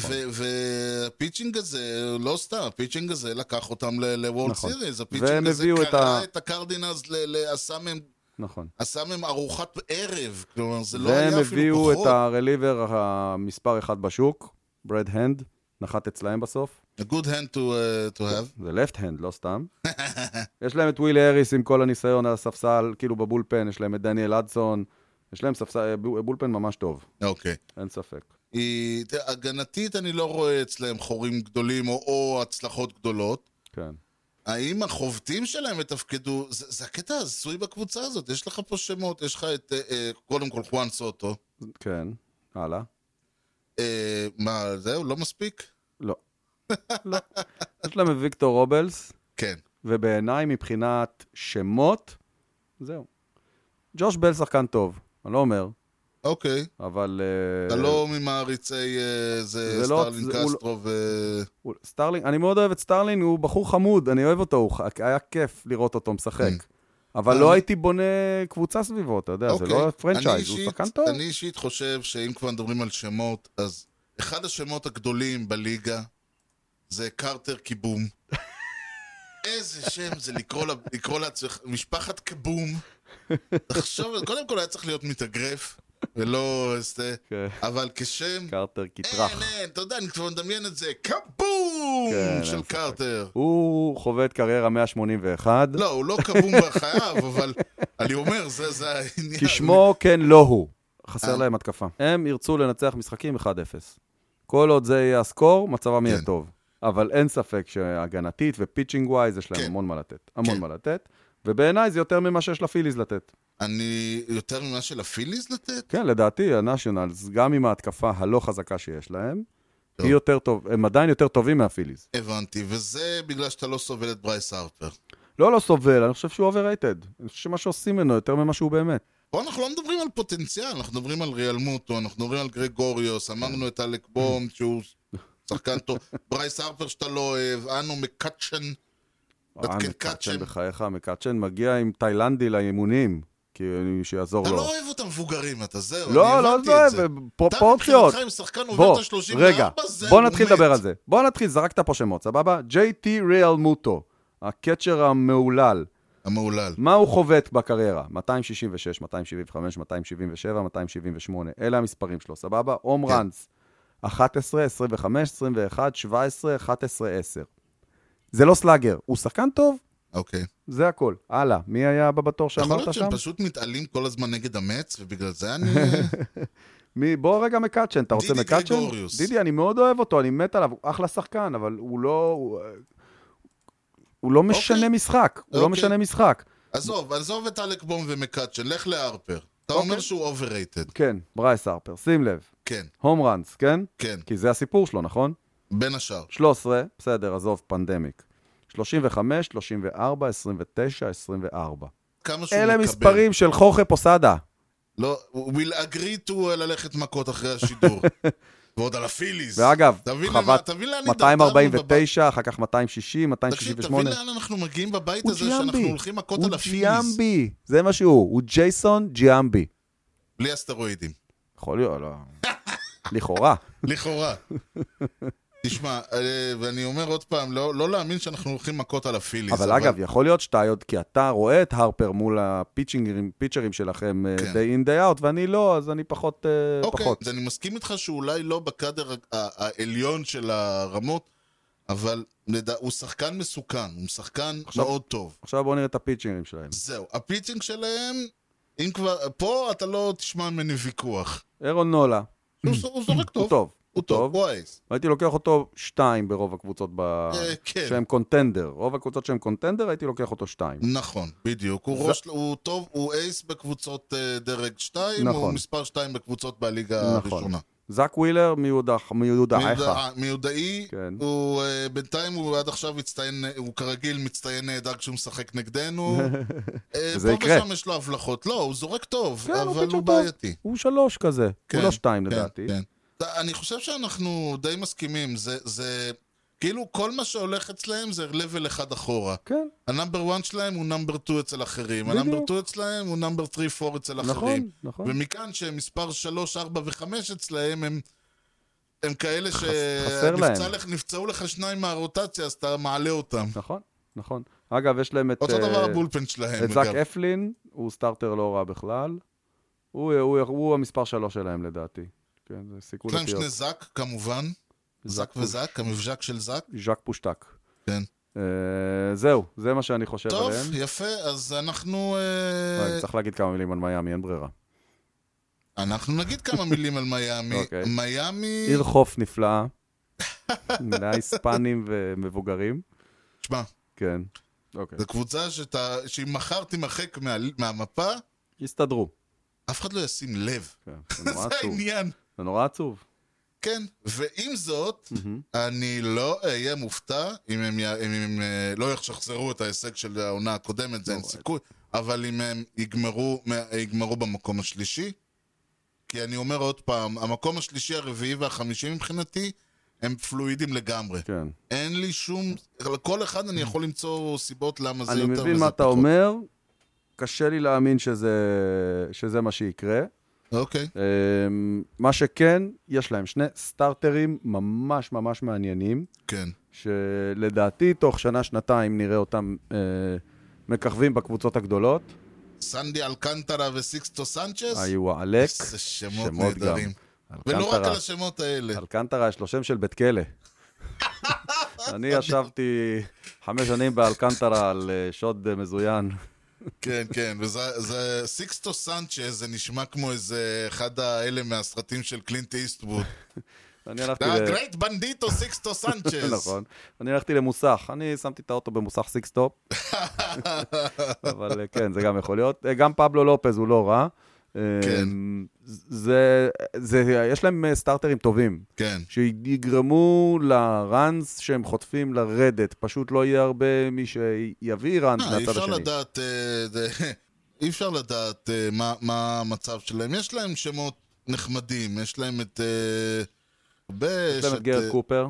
S1: והפיצ'ינג הזה, לא סתם, הפיצ'ינג הזה לקח אותם לוורד
S2: נכון.
S1: סיריס,
S2: והם
S1: הפיצ'ינג הזה
S2: הביאו את
S1: קרע
S2: ה-
S1: את הקרדינלס, ל- ל- עשה מהם-
S2: נכון.
S1: עשה מהם ארוחת ערב, כלומר זה לא
S2: והם
S1: היה אפילו
S2: הביאו את
S1: פחות.
S2: הרליבר המספר אחד בשוק, ברד הנד, נחת אצלהם בסוף.
S1: A good hand to, uh, to have.
S2: זה לפט הנד, לא סתם. יש להם את ווילי האריס עם כל הניסיון על הספסל, כאילו בבולפן, יש להם את דניאל אדסון, יש להם ספסל, אה, בולפן ממש טוב,
S1: אוקיי.
S2: אין ספק.
S1: היא- תראה, הגנתית אני לא רואה אצלהם חורים גדולים או, או הצלחות גדולות.
S2: כן.
S1: האם החובטים שלהם יתפקדו? זה, זה הקטע הזוי בקבוצה הזאת. יש לך פה שמות, יש לך את, אה, אה, קודם כל חואן סוטו.
S2: כן, הלאה.
S1: אה, מה, זהו, לא מספיק?
S2: לא. לא. יש להם את ויקטור רובלס,
S1: כן.
S2: ובעיניי מבחינת שמות, זהו. ג'וש בל שחקן טוב, אני לא אומר,
S1: אוקיי.
S2: אבל...
S1: אתה
S2: אה,
S1: לא ממעריצי אה, זה
S2: זה לא-
S1: סטרלין
S2: זה- הוא לא-
S1: קסטרו ו...
S2: הוא- סטארלינג, אני מאוד אוהב את סטארלינג, הוא בחור חמוד, אני אוהב אותו, הוא ח- היה כיף לראות אותו משחק. אבל לא
S1: Mm. אני-
S2: הייתי בונה קבוצה סביבו, אתה יודע, זה
S1: אוקיי.
S2: לא
S1: אני
S2: פרנצ'ייז, הוא
S1: אישית-
S2: שחקן טוב.
S1: אני אישית חושב שאם כבר מדברים על שמות, אז אחד השמות הגדולים בליגה זה קרטר קיבום. איזה שם זה לקרוא, לה- לקרוא לעצמך, משפחת קבום. תחשוב, קודם כל היה צריך להיות מתאגרף, ולא איזה...
S2: כן.
S1: אבל כשם...
S2: קרטר
S1: אין,
S2: כטרח.
S1: אין, אתה יודע, אה, אני כבר מדמיין את זה, קבום!
S2: כן, אין
S1: של
S2: ספק.
S1: קרטר.
S2: הוא חווה את קריירה 181,
S1: לא, הוא לא כבום בחייו, אבל אני אומר, זה זה העניין.
S2: כי שמו כן לא הוא.
S1: אה.
S2: חסר להם התקפה. הם ירצו לנצח משחקים 1-0. כל עוד זה יהיה הסקור, מצבם יהיה
S1: כן.
S2: טוב. אבל אין ספק שהגנתית ופיצ'ינג ווייז, יש להם
S1: כן.
S2: המון מה לתת. המון
S1: כן.
S2: מה לתת, ובעיניי זה יותר ממה שיש לפיליז לתת.
S1: אני יותר ממה שלפיליז לתת?
S2: כן, לדעתי, הנשיונלס, גם עם ההתקפה הלא חזקה שיש להם,
S1: טוב.
S2: היא יותר טוב, הם עדיין יותר טובים מהפיליז.
S1: הבנתי, וזה בגלל שאתה לא סובל את ברייס הרפר.
S2: לא, לא סובל, אני חושב שהוא overrated. אני חושב שמה שעושים ממנו יותר ממה שהוא באמת.
S1: פה אנחנו לא מדברים על פוטנציאל, אנחנו מדברים על ריאל מוטו, אנחנו מדברים על גרגוריוס,
S2: כן.
S1: אמרנו את אלק בום, שהוא שחקן טוב, ברייס הרפר שאתה לא אוהב, אנו מקאצ'ן,
S2: אה,
S1: מתקן
S2: מקאצ'ן
S1: קאצ'ן.
S2: בחייך, מקאצ'ן מגיע עם תאילנדי לאימונים, כי שיעזור
S1: אתה
S2: לו.
S1: לא אוהב את המבוגרים, אתה זהו,
S2: לא,
S1: אני
S2: לא
S1: הבנתי את זה.
S2: זה, פרופורציות.
S1: אתה מבחינתך עם שחקן עובר
S2: בוא,
S1: את ה-34,
S2: רגע,
S1: זהו,
S2: בוא
S1: הוא
S2: נתחיל
S1: מת.
S2: לדבר על זה. בוא נתחיל, זרקת פה שמות, סבבה? JT ריאל מוטו, הקצ'ר המהולל.
S1: המהולל.
S2: מה הוא חובט בקריירה? 266, 275, 277, 278. אלה המספרים שלו, סבבה? הום
S1: כן.
S2: ראנס, 11, 25, 21, 17, 11, 10. זה לא סלאגר, הוא שחקן טוב,
S1: אוקיי.
S2: זה הכל. הלאה, מי היה הבא בתור
S1: יכול להיות
S2: שאמרת שם?
S1: שהם פשוט מתעלים כל הזמן נגד המץ, ובגלל זה אני...
S2: מי, בוא רגע מקאצ'ן, אתה רוצה
S1: דידי
S2: מקאצ'ן?
S1: גרגוריוס.
S2: דידי, אני מאוד אוהב אותו, אני מת עליו, הוא אחלה שחקן, אבל הוא לא... הוא, הוא לא משנה משחק, הוא לא
S1: אוקיי.
S2: משנה משחק.
S1: עזוב, עזוב את אלק בום ומקאצ'ן, לך להרפר. אתה
S2: אוקיי.
S1: אומר שהוא אוברייטד.
S2: כן, ברייס הרפר, שים לב,
S1: כן,
S2: הום ראנס, כן?
S1: כן,
S2: כי זה הסיפור שלו, נכון?
S1: בין השאר.
S2: 13, בסדר, עזוב, פנדמיק. 35, 34, 29, 24.
S1: כמה שהוא
S2: אלה
S1: מקבל.
S2: מספרים של חוכה פוסדה.
S1: לא, will agree to אה, ללכת מכות אחרי השידור. ועוד על הפיליס.
S2: ואגב,
S1: תבין למה-
S2: חוות
S1: תבין לאן הידרדרנו בבית.
S2: 249, אחר כך 260,
S1: תקשיב, תבין
S2: 268.
S1: לאן אנחנו מגיעים בבית
S2: הוא
S1: הזה, שאנחנו
S2: ג'יאמבי,
S1: הולכים מכות
S2: הוא
S1: על הפיליס.
S2: ג'יאמבי, זה מה שהוא, הוא ג'ייסון ג'יאמבי.
S1: בלי הסטרואידים.
S2: יכול להיות, לא. לכאורה.
S1: לכאורה. תשמע, אה, ואני אומר עוד פעם, לא לא להאמין שאנחנו הולכים מכות על הפיליס.
S2: אבל אגב, יכול להיות שאתה עוד, כי אתה רואה את הרפר מול הפיצ'ינגרים, פיצ'רים שלכם, אה,
S1: כן.
S2: day in day out, ואני לא, אז אני פחות, אה,
S1: אוקיי,
S2: פחות.
S1: אז אני מסכים איתך שאולי לא בקאדר ה- ה- העליון של הרמות, אבל לדע- הוא שחקן מסוכן, הוא שחקן
S2: עכשיו-
S1: מאוד טוב.
S2: עכשיו בואו נראה את הפיצ'ינגרים שלהם.
S1: זהו, הפיצ'ינג שלהם, אם כבר, פה אתה לא תשמע ממני ויכוח.
S2: אירון נולה,
S1: הוא ז- הוא זורק
S2: הוא
S1: טוב,
S2: טוב.
S1: הוא טוב, הוא אייס.
S2: הייתי לוקח אותו שתיים ברוב הקבוצות ב...
S1: אה, כן.
S2: שהם קונטנדר. רוב הקבוצות שהם קונטנדר, הייתי לוקח אותו שתיים.
S1: נכון, בדיוק. הוא
S2: זה-
S1: ראש, הוא טוב, הוא אייס בקבוצות אה, דרג 2, הוא
S2: נכון.
S1: מספר 2 בקבוצות בליגה
S2: נכון.
S1: הראשונה.
S2: זאק ווילר מיהודה מיהודה
S1: מיודע-
S2: איכה.
S1: מיודעי,
S2: כן.
S1: הוא אה, בינתיים, הוא עד עכשיו הצטיין, הוא כרגיל מצטיין נהדר כשהוא משחק נגדנו. אה,
S2: וזה יקרה.
S1: פה ושם יש לו הבלחות. לא, הוא זורק טוב,
S2: כן,
S1: אבל
S2: פיצ'ר
S1: הוא
S2: טוב.
S1: בעייתי.
S2: הוא שלוש כזה, הוא
S1: כן,
S2: לא שתיים
S1: כן,
S2: לדעתי.
S1: כן. אני חושב שאנחנו די מסכימים, זה- זה... כאילו, כל מה שהולך אצלהם זה level אחד אחורה.
S2: כן,
S1: הנאמבר 1 שלהם הוא נאמבר 2 אצל אחרים.
S2: בדיוק.
S1: הנאמבר 2 אצלהם הוא נאמבר 3-4 אצל אחרים.
S2: נכון, נכון.
S1: ומכאן שהם מספר 3, 4 ו-5 אצלהם, הם, הם כאלה ש...
S2: חסר להם.
S1: נפצע לך- נפצעו לך שניים מהרוטציה, אז אתה מעלה אותם.
S2: נכון, נכון. אגב, יש להם את...
S1: אותו דבר
S2: אה,
S1: הבולפן שלהם,
S2: את זאק
S1: אגב.
S2: אפלין, הוא סטארטר לא רע בכלל. הוא- אה, הוא הוא המספר שלוש שלהם לדעתי. כן, זה סיכוי
S1: יש להם
S2: לפירות.
S1: שני זאק, כמובן. זאק וזאק, המבזק של זאק.
S2: ז'אק פושטק.
S1: כן.
S2: אה, זהו, זה מה שאני חושב
S1: טוב,
S2: עליהם.
S1: יפה, אז אנחנו... אה,
S2: אה, צריך להגיד כמה מילים על מיאמי, אין ברירה.
S1: אנחנו נגיד כמה מילים על מיאמי.
S2: אוקיי.
S1: מיאמי...
S2: עיר חוף נפלאה. מלאה היספנים ומבוגרים.
S1: תשמע,
S2: כן. אוקיי.
S1: זו קבוצה שאתה- שאם מחר תימחק מה- מהמפה,
S2: הסתדרו.
S1: אף אחד לא ישים לב.
S2: כן, זה נורא
S1: זה
S2: עצוב.
S1: העניין.
S2: זה נורא עצוב.
S1: כן, ועם זאת, אני לא אהיה מופתע אם הם, י- אם הם אה, לא ישחזרו את ההישג של העונה הקודמת,
S2: לא,
S1: זה אין סיכוי, אבל אם הם יגמרו, מה- יגמרו במקום השלישי, כי אני אומר עוד פעם, המקום השלישי, הרביעי והחמישי מבחינתי, הם פלואידים לגמרי.
S2: כן.
S1: אין לי שום... לכל אחד אני יכול למצוא סיבות למה זה
S2: אני
S1: יותר וזה פחות.
S2: מבין מה אתה אומר, קשה לי להאמין שזה, שזה מה שיקרה.
S1: אוקיי.
S2: אמ, מה שכן, יש להם שני סטארטרים ממש ממש מעניינים,
S1: כן,
S2: שלדעתי תוך שנה-שנתיים נראה אותם אה, מככבים בקבוצות הגדולות.
S1: סנדי אלקנטרה וסיקסטו סנצ'ס?
S2: היו עלק,
S1: איזה שמות
S2: שמות גם.
S1: נהדרים. ולא רק על השמות האלה.
S2: אלקנטרה יש לו שם של בית כלא. אני ישבתי חמש שנים באלקנטרה על אה, שוד אה, מזוין.
S1: כן, כן, וזה זה- סיקסטו סנצ'ז, זה נשמע כמו איזה אחד האלה מהסרטים של קלינט איסטווד.
S2: אני הלכתי ל...
S1: הגרייט בנדיטו סיקסטו סנצ'ז.
S2: נכון. אני הלכתי למוסך, אני שמתי את האוטו במוסך סיקסטופ. אבל אה, כן, זה גם יכול להיות. אה, גם פבלו לופז הוא לא רע. אה,
S1: כן.
S2: זה, זה, יש להם אה, סטארטרים טובים,
S1: כן,
S2: שיגרמו לראנס שהם חוטפים לרדת. פשוט לא יהיה הרבה מי שיביא ראנס
S1: אה, אי
S2: מהצד
S1: אפשר
S2: השני.
S1: לדעת, אה, זה- אי אפשר לדעת אה, מה- מה המצב שלהם. יש להם שמות נחמדים, יש להם את... אה, הרבה...
S2: יש להם את גרד קופר,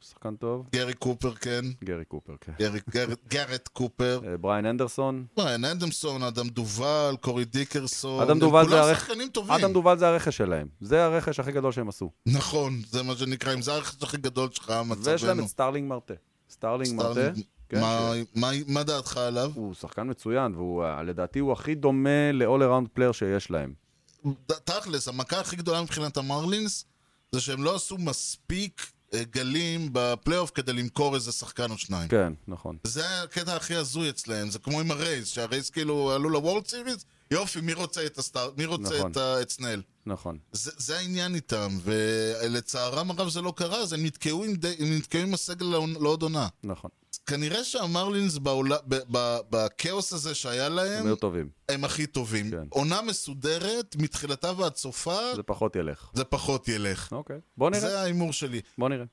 S2: שחקן טוב.
S1: גרי קופר, כן.
S2: גרי קופר, כן.
S1: גרי- גר- גארט קופר.
S2: אה, בריין אנדרסון.
S1: בריין אדמסון, אדם דובל, קורי דיקרסון.
S2: אדם דובל זה
S1: כולם
S2: הרכ-
S1: שחקנים טובים.
S2: אדם דובל זה הרכש שלהם. זה הרכש הכי גדול שהם עשו.
S1: נכון, זה מה שנקרא, אם זה הרכש הכי גדול שלך,
S2: ויש להם
S1: מצבנו.
S2: את סטארלינג מרטה. סטארלינג מרטה,
S1: סטארלינג,
S2: כן,
S1: מה- מה- מה דעתך עליו?
S2: הוא שחקן מצוין, והוא אה, לדעתי הוא הכי דומה ל-all around player שיש להם.
S1: ד- תכלס, המכה הכי גדולה מבחינת המרלינס, זה שהם לא עשו מספיק אה, גלים בפלייאוף כדי למכור איזה שחקן או שניים.
S2: כן, נכון.
S1: זה הקטע הכי הזוי אצלהם, זה כמו עם הרייז, שהרייז כאילו עלו לוורלד סיריס, יופי, מי רוצה את הסטאר... מי רוצה
S2: נכון.
S1: את ה- את סנאל?
S2: נכון.
S1: זה, זה העניין איתם, ולצערם הרב זה לא קרה, אז הם נתקעו עם, די, הם נתקעו עם הסגל לעונ- לעוד עונה.
S2: נכון,
S1: כנראה שהמרלינס בעולה, ב, ב, בכאוס הזה שהיה
S2: הם
S1: להם,
S2: היו טובים,
S1: הם הכי טובים.
S2: כן.
S1: עונה מסודרת, מתחילתה ועד סופה,
S2: זה פחות ילך.
S1: זה פחות ילך.
S2: אוקיי, בוא נראה,
S1: זה ההימור שלי.
S2: בוא נראה.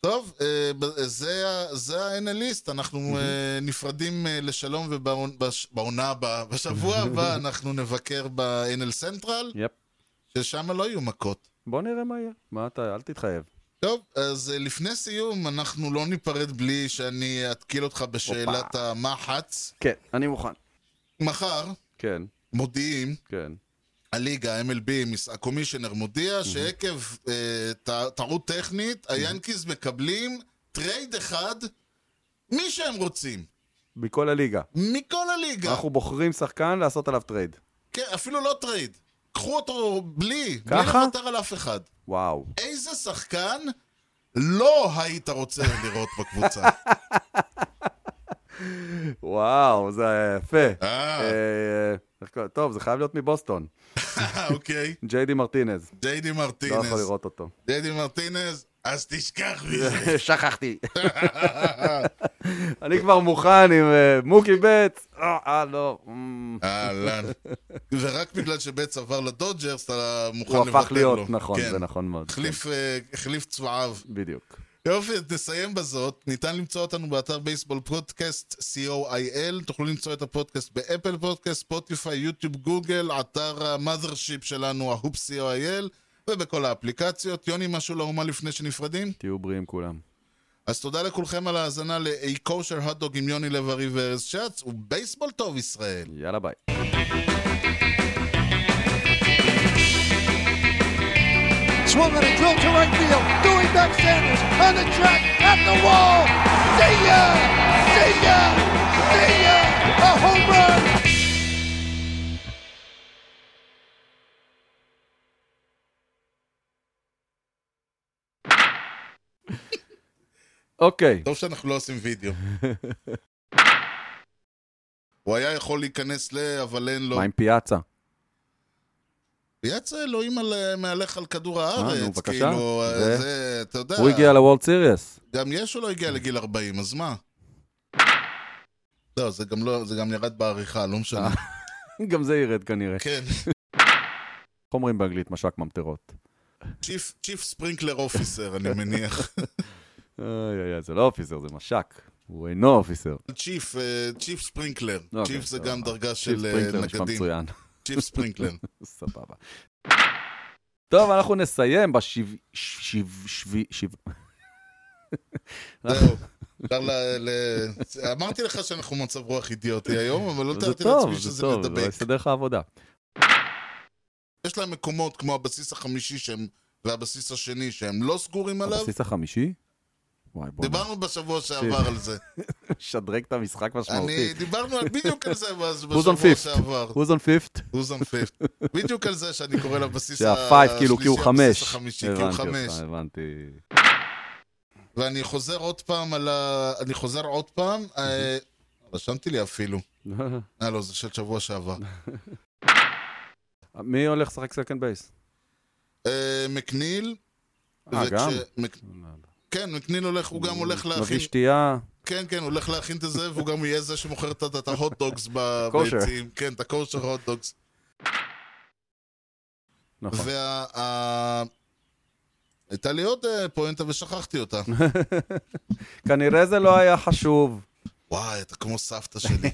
S1: טוב, אה, ב- זה, ה- זה ה-NList, אנחנו אה, נפרדים אה, לשלום ובעונה הבאה. בשבוע הבא אנחנו נבקר ב-NL Central,
S2: יפ,
S1: ששם לא יהיו מכות.
S2: בוא נראה מה יהיה. מה אתה, אל תתחייב.
S1: טוב, אז אה, לפני סיום, אנחנו לא ניפרד בלי שאני אתקיל אותך בשאלת המחץ.
S2: כן, אני מוכן.
S1: מחר
S2: כן,
S1: מודיעים
S2: כן.
S1: הליגה, MLB, מס- הקומישיונר מודיע שעקב אה, ט- טעות טכנית, היאנקיז מקבלים טרייד אחד, מי שהם רוצים,
S2: מכל הליגה.
S1: כן. מכל הליגה.
S2: אנחנו בוחרים שחקן לעשות עליו טרייד.
S1: כן, אפילו לא טרייד. קחו אותו בלי, בלי
S2: ככה?
S1: לוותר על אף אחד.
S2: וואו.
S1: איזה שחקן לא היית רוצה לראות בקבוצה?
S2: וואו, זה יפה.
S1: אה.
S2: אה, איך קורא- טוב, זה חייב להיות מבוסטון.
S1: אוקיי,
S2: ג'יי די מרטינז.
S1: ג'יידי
S2: אה, לא יכול
S1: מרטינז.
S2: לראות אותו.
S1: ג'יידי מרטינז, אז תשכח מזה.
S2: שכחתי. אני כבר מוכן עם אה, מוקי בט. אה, אה, לא. אמ,
S1: אהלן. ורק בגלל שבץ עבר לדודג'רס, אתה מוכן
S2: הוא
S1: לוותר לו.
S2: הפך להיות, נכון,
S1: כן.
S2: זה נכון מאוד.
S1: החליף, אה, החליף צבעיו.
S2: כן, בדיוק.
S1: יופי, אז נסיים בזאת. ניתן למצוא אותנו באתר בייסבול פודקאסט co.il. תוכלו למצוא את הפודקאסט באפל פודקאסט, ספוטיפיי, יוטיוב, גוגל, אתר המאזרשיפ שלנו, ההופ co.il, ובכל האפליקציות. יוני, משהו לאומה לפני שנפרדים?
S2: תהיו בריאים כולם.
S1: אז תודה לכולכם על ההאזנה ל-A kosher hot dog עם יוני לב-ארי וארז שץ, ובייסבול טוב ישראל.
S2: יאללה ביי.
S7: Swung and a drill to right field. Doing back Sanders on the track at the wall. See ya! See ya! See ya! A home run!
S2: אוקיי.
S1: טוב שאנחנו לא עושים וידאו. הוא היה יכול להיכנס ל... אבל אין לו.
S2: מה עם פיאצה?
S1: אה. יצא אלוהים על, מהלך על כדור
S2: אה, נו,
S1: הארץ,
S2: בבקשה.
S1: כאילו,
S2: זה-
S1: זה... זה, אתה יודע,
S2: הוא הגיע לוולד סיריוס.
S1: גם ישו לא הגיע לגיל 40, אז מה? לא, זה גם לא, זה גם ירד בעריכה, לא משנה.
S2: אה. גם זה ירד כנראה.
S1: כן,
S2: איך אומרים באנגלית משק ממטרות?
S1: צ'יף, צ'יף ספרינקלר אופיסר, אני מניח.
S2: איי, איי, איי, זה לא אופיסר, זה משק. הוא אינו אופיסר.
S1: צ'יף, אה, צ'יף ספרינקלר.
S2: אוקיי,
S1: צ'יף זה
S2: סבבה.
S1: גם דרגה
S2: צ'יפ
S1: של אה,
S2: ספרינקלר נשמע
S1: נגדים.
S2: מצוין.
S1: צ'יף ספרינקלר.
S2: סבבה. טוב, אנחנו נסיים בשב... שב... שב... שב...
S1: זהו. אפשר ל- ל- אמרתי לך שאנחנו במצב רוח אידיוטי היום, אבל לא
S2: זה
S1: תיארתי
S2: טוב,
S1: לעצמי
S2: זה
S1: שזה
S2: טוב, זה
S1: מדבק.
S2: יסדר לך עבודה.
S1: יש להם מקומות כמו הבסיס החמישי שהם, והבסיס השני שהם לא סגורים עליו.
S2: הבסיס החמישי? וואי, בוא
S1: דיברנו בשבוע שעבר על זה.
S2: נשדרג את המשחק
S1: אני,
S2: משמעותי.
S1: דיברנו על- בדיוק על זה בש-
S2: Who's on
S1: בשבוע
S2: fifth?
S1: שעבר.
S2: Who's on fifth?
S1: Who's on fifth? בדיוק על זה שאני קורא לבסיס
S2: שהפייב כאילו כי הוא
S1: השלישי, הבסיס
S2: חמש.
S1: החמישי, כי הוא
S2: הבנתי
S1: חמש.
S2: אותך, הבנתי.
S1: ואני חוזר עוד פעם על ה... אני חוזר עוד פעם. אה, רשמתי לי אפילו. אה, לא, זה של שבוע שעבר.
S2: מי הולך לשחק סקנד בייס?
S1: אה, מקניל.
S2: אה,
S1: וכש-
S2: גם? לא,
S1: מק- כן, מקניל הולך, הוא גם הולך
S2: מביא
S1: להכין...
S2: שתייה,
S1: כן, כן, הוא הולך להכין את זה, והוא גם יהיה זה שמוכר את ה- את ההוט-דוגס ב-
S2: כושר.
S1: ביציעים. כן, את הכושר הוט-דוגס.
S2: נכון.
S1: וה... ה- הייתה לי עוד אה, פואנטה ושכחתי אותה.
S2: כנראה זה לא היה חשוב.
S1: וואי, אתה כמו סבתא שלי.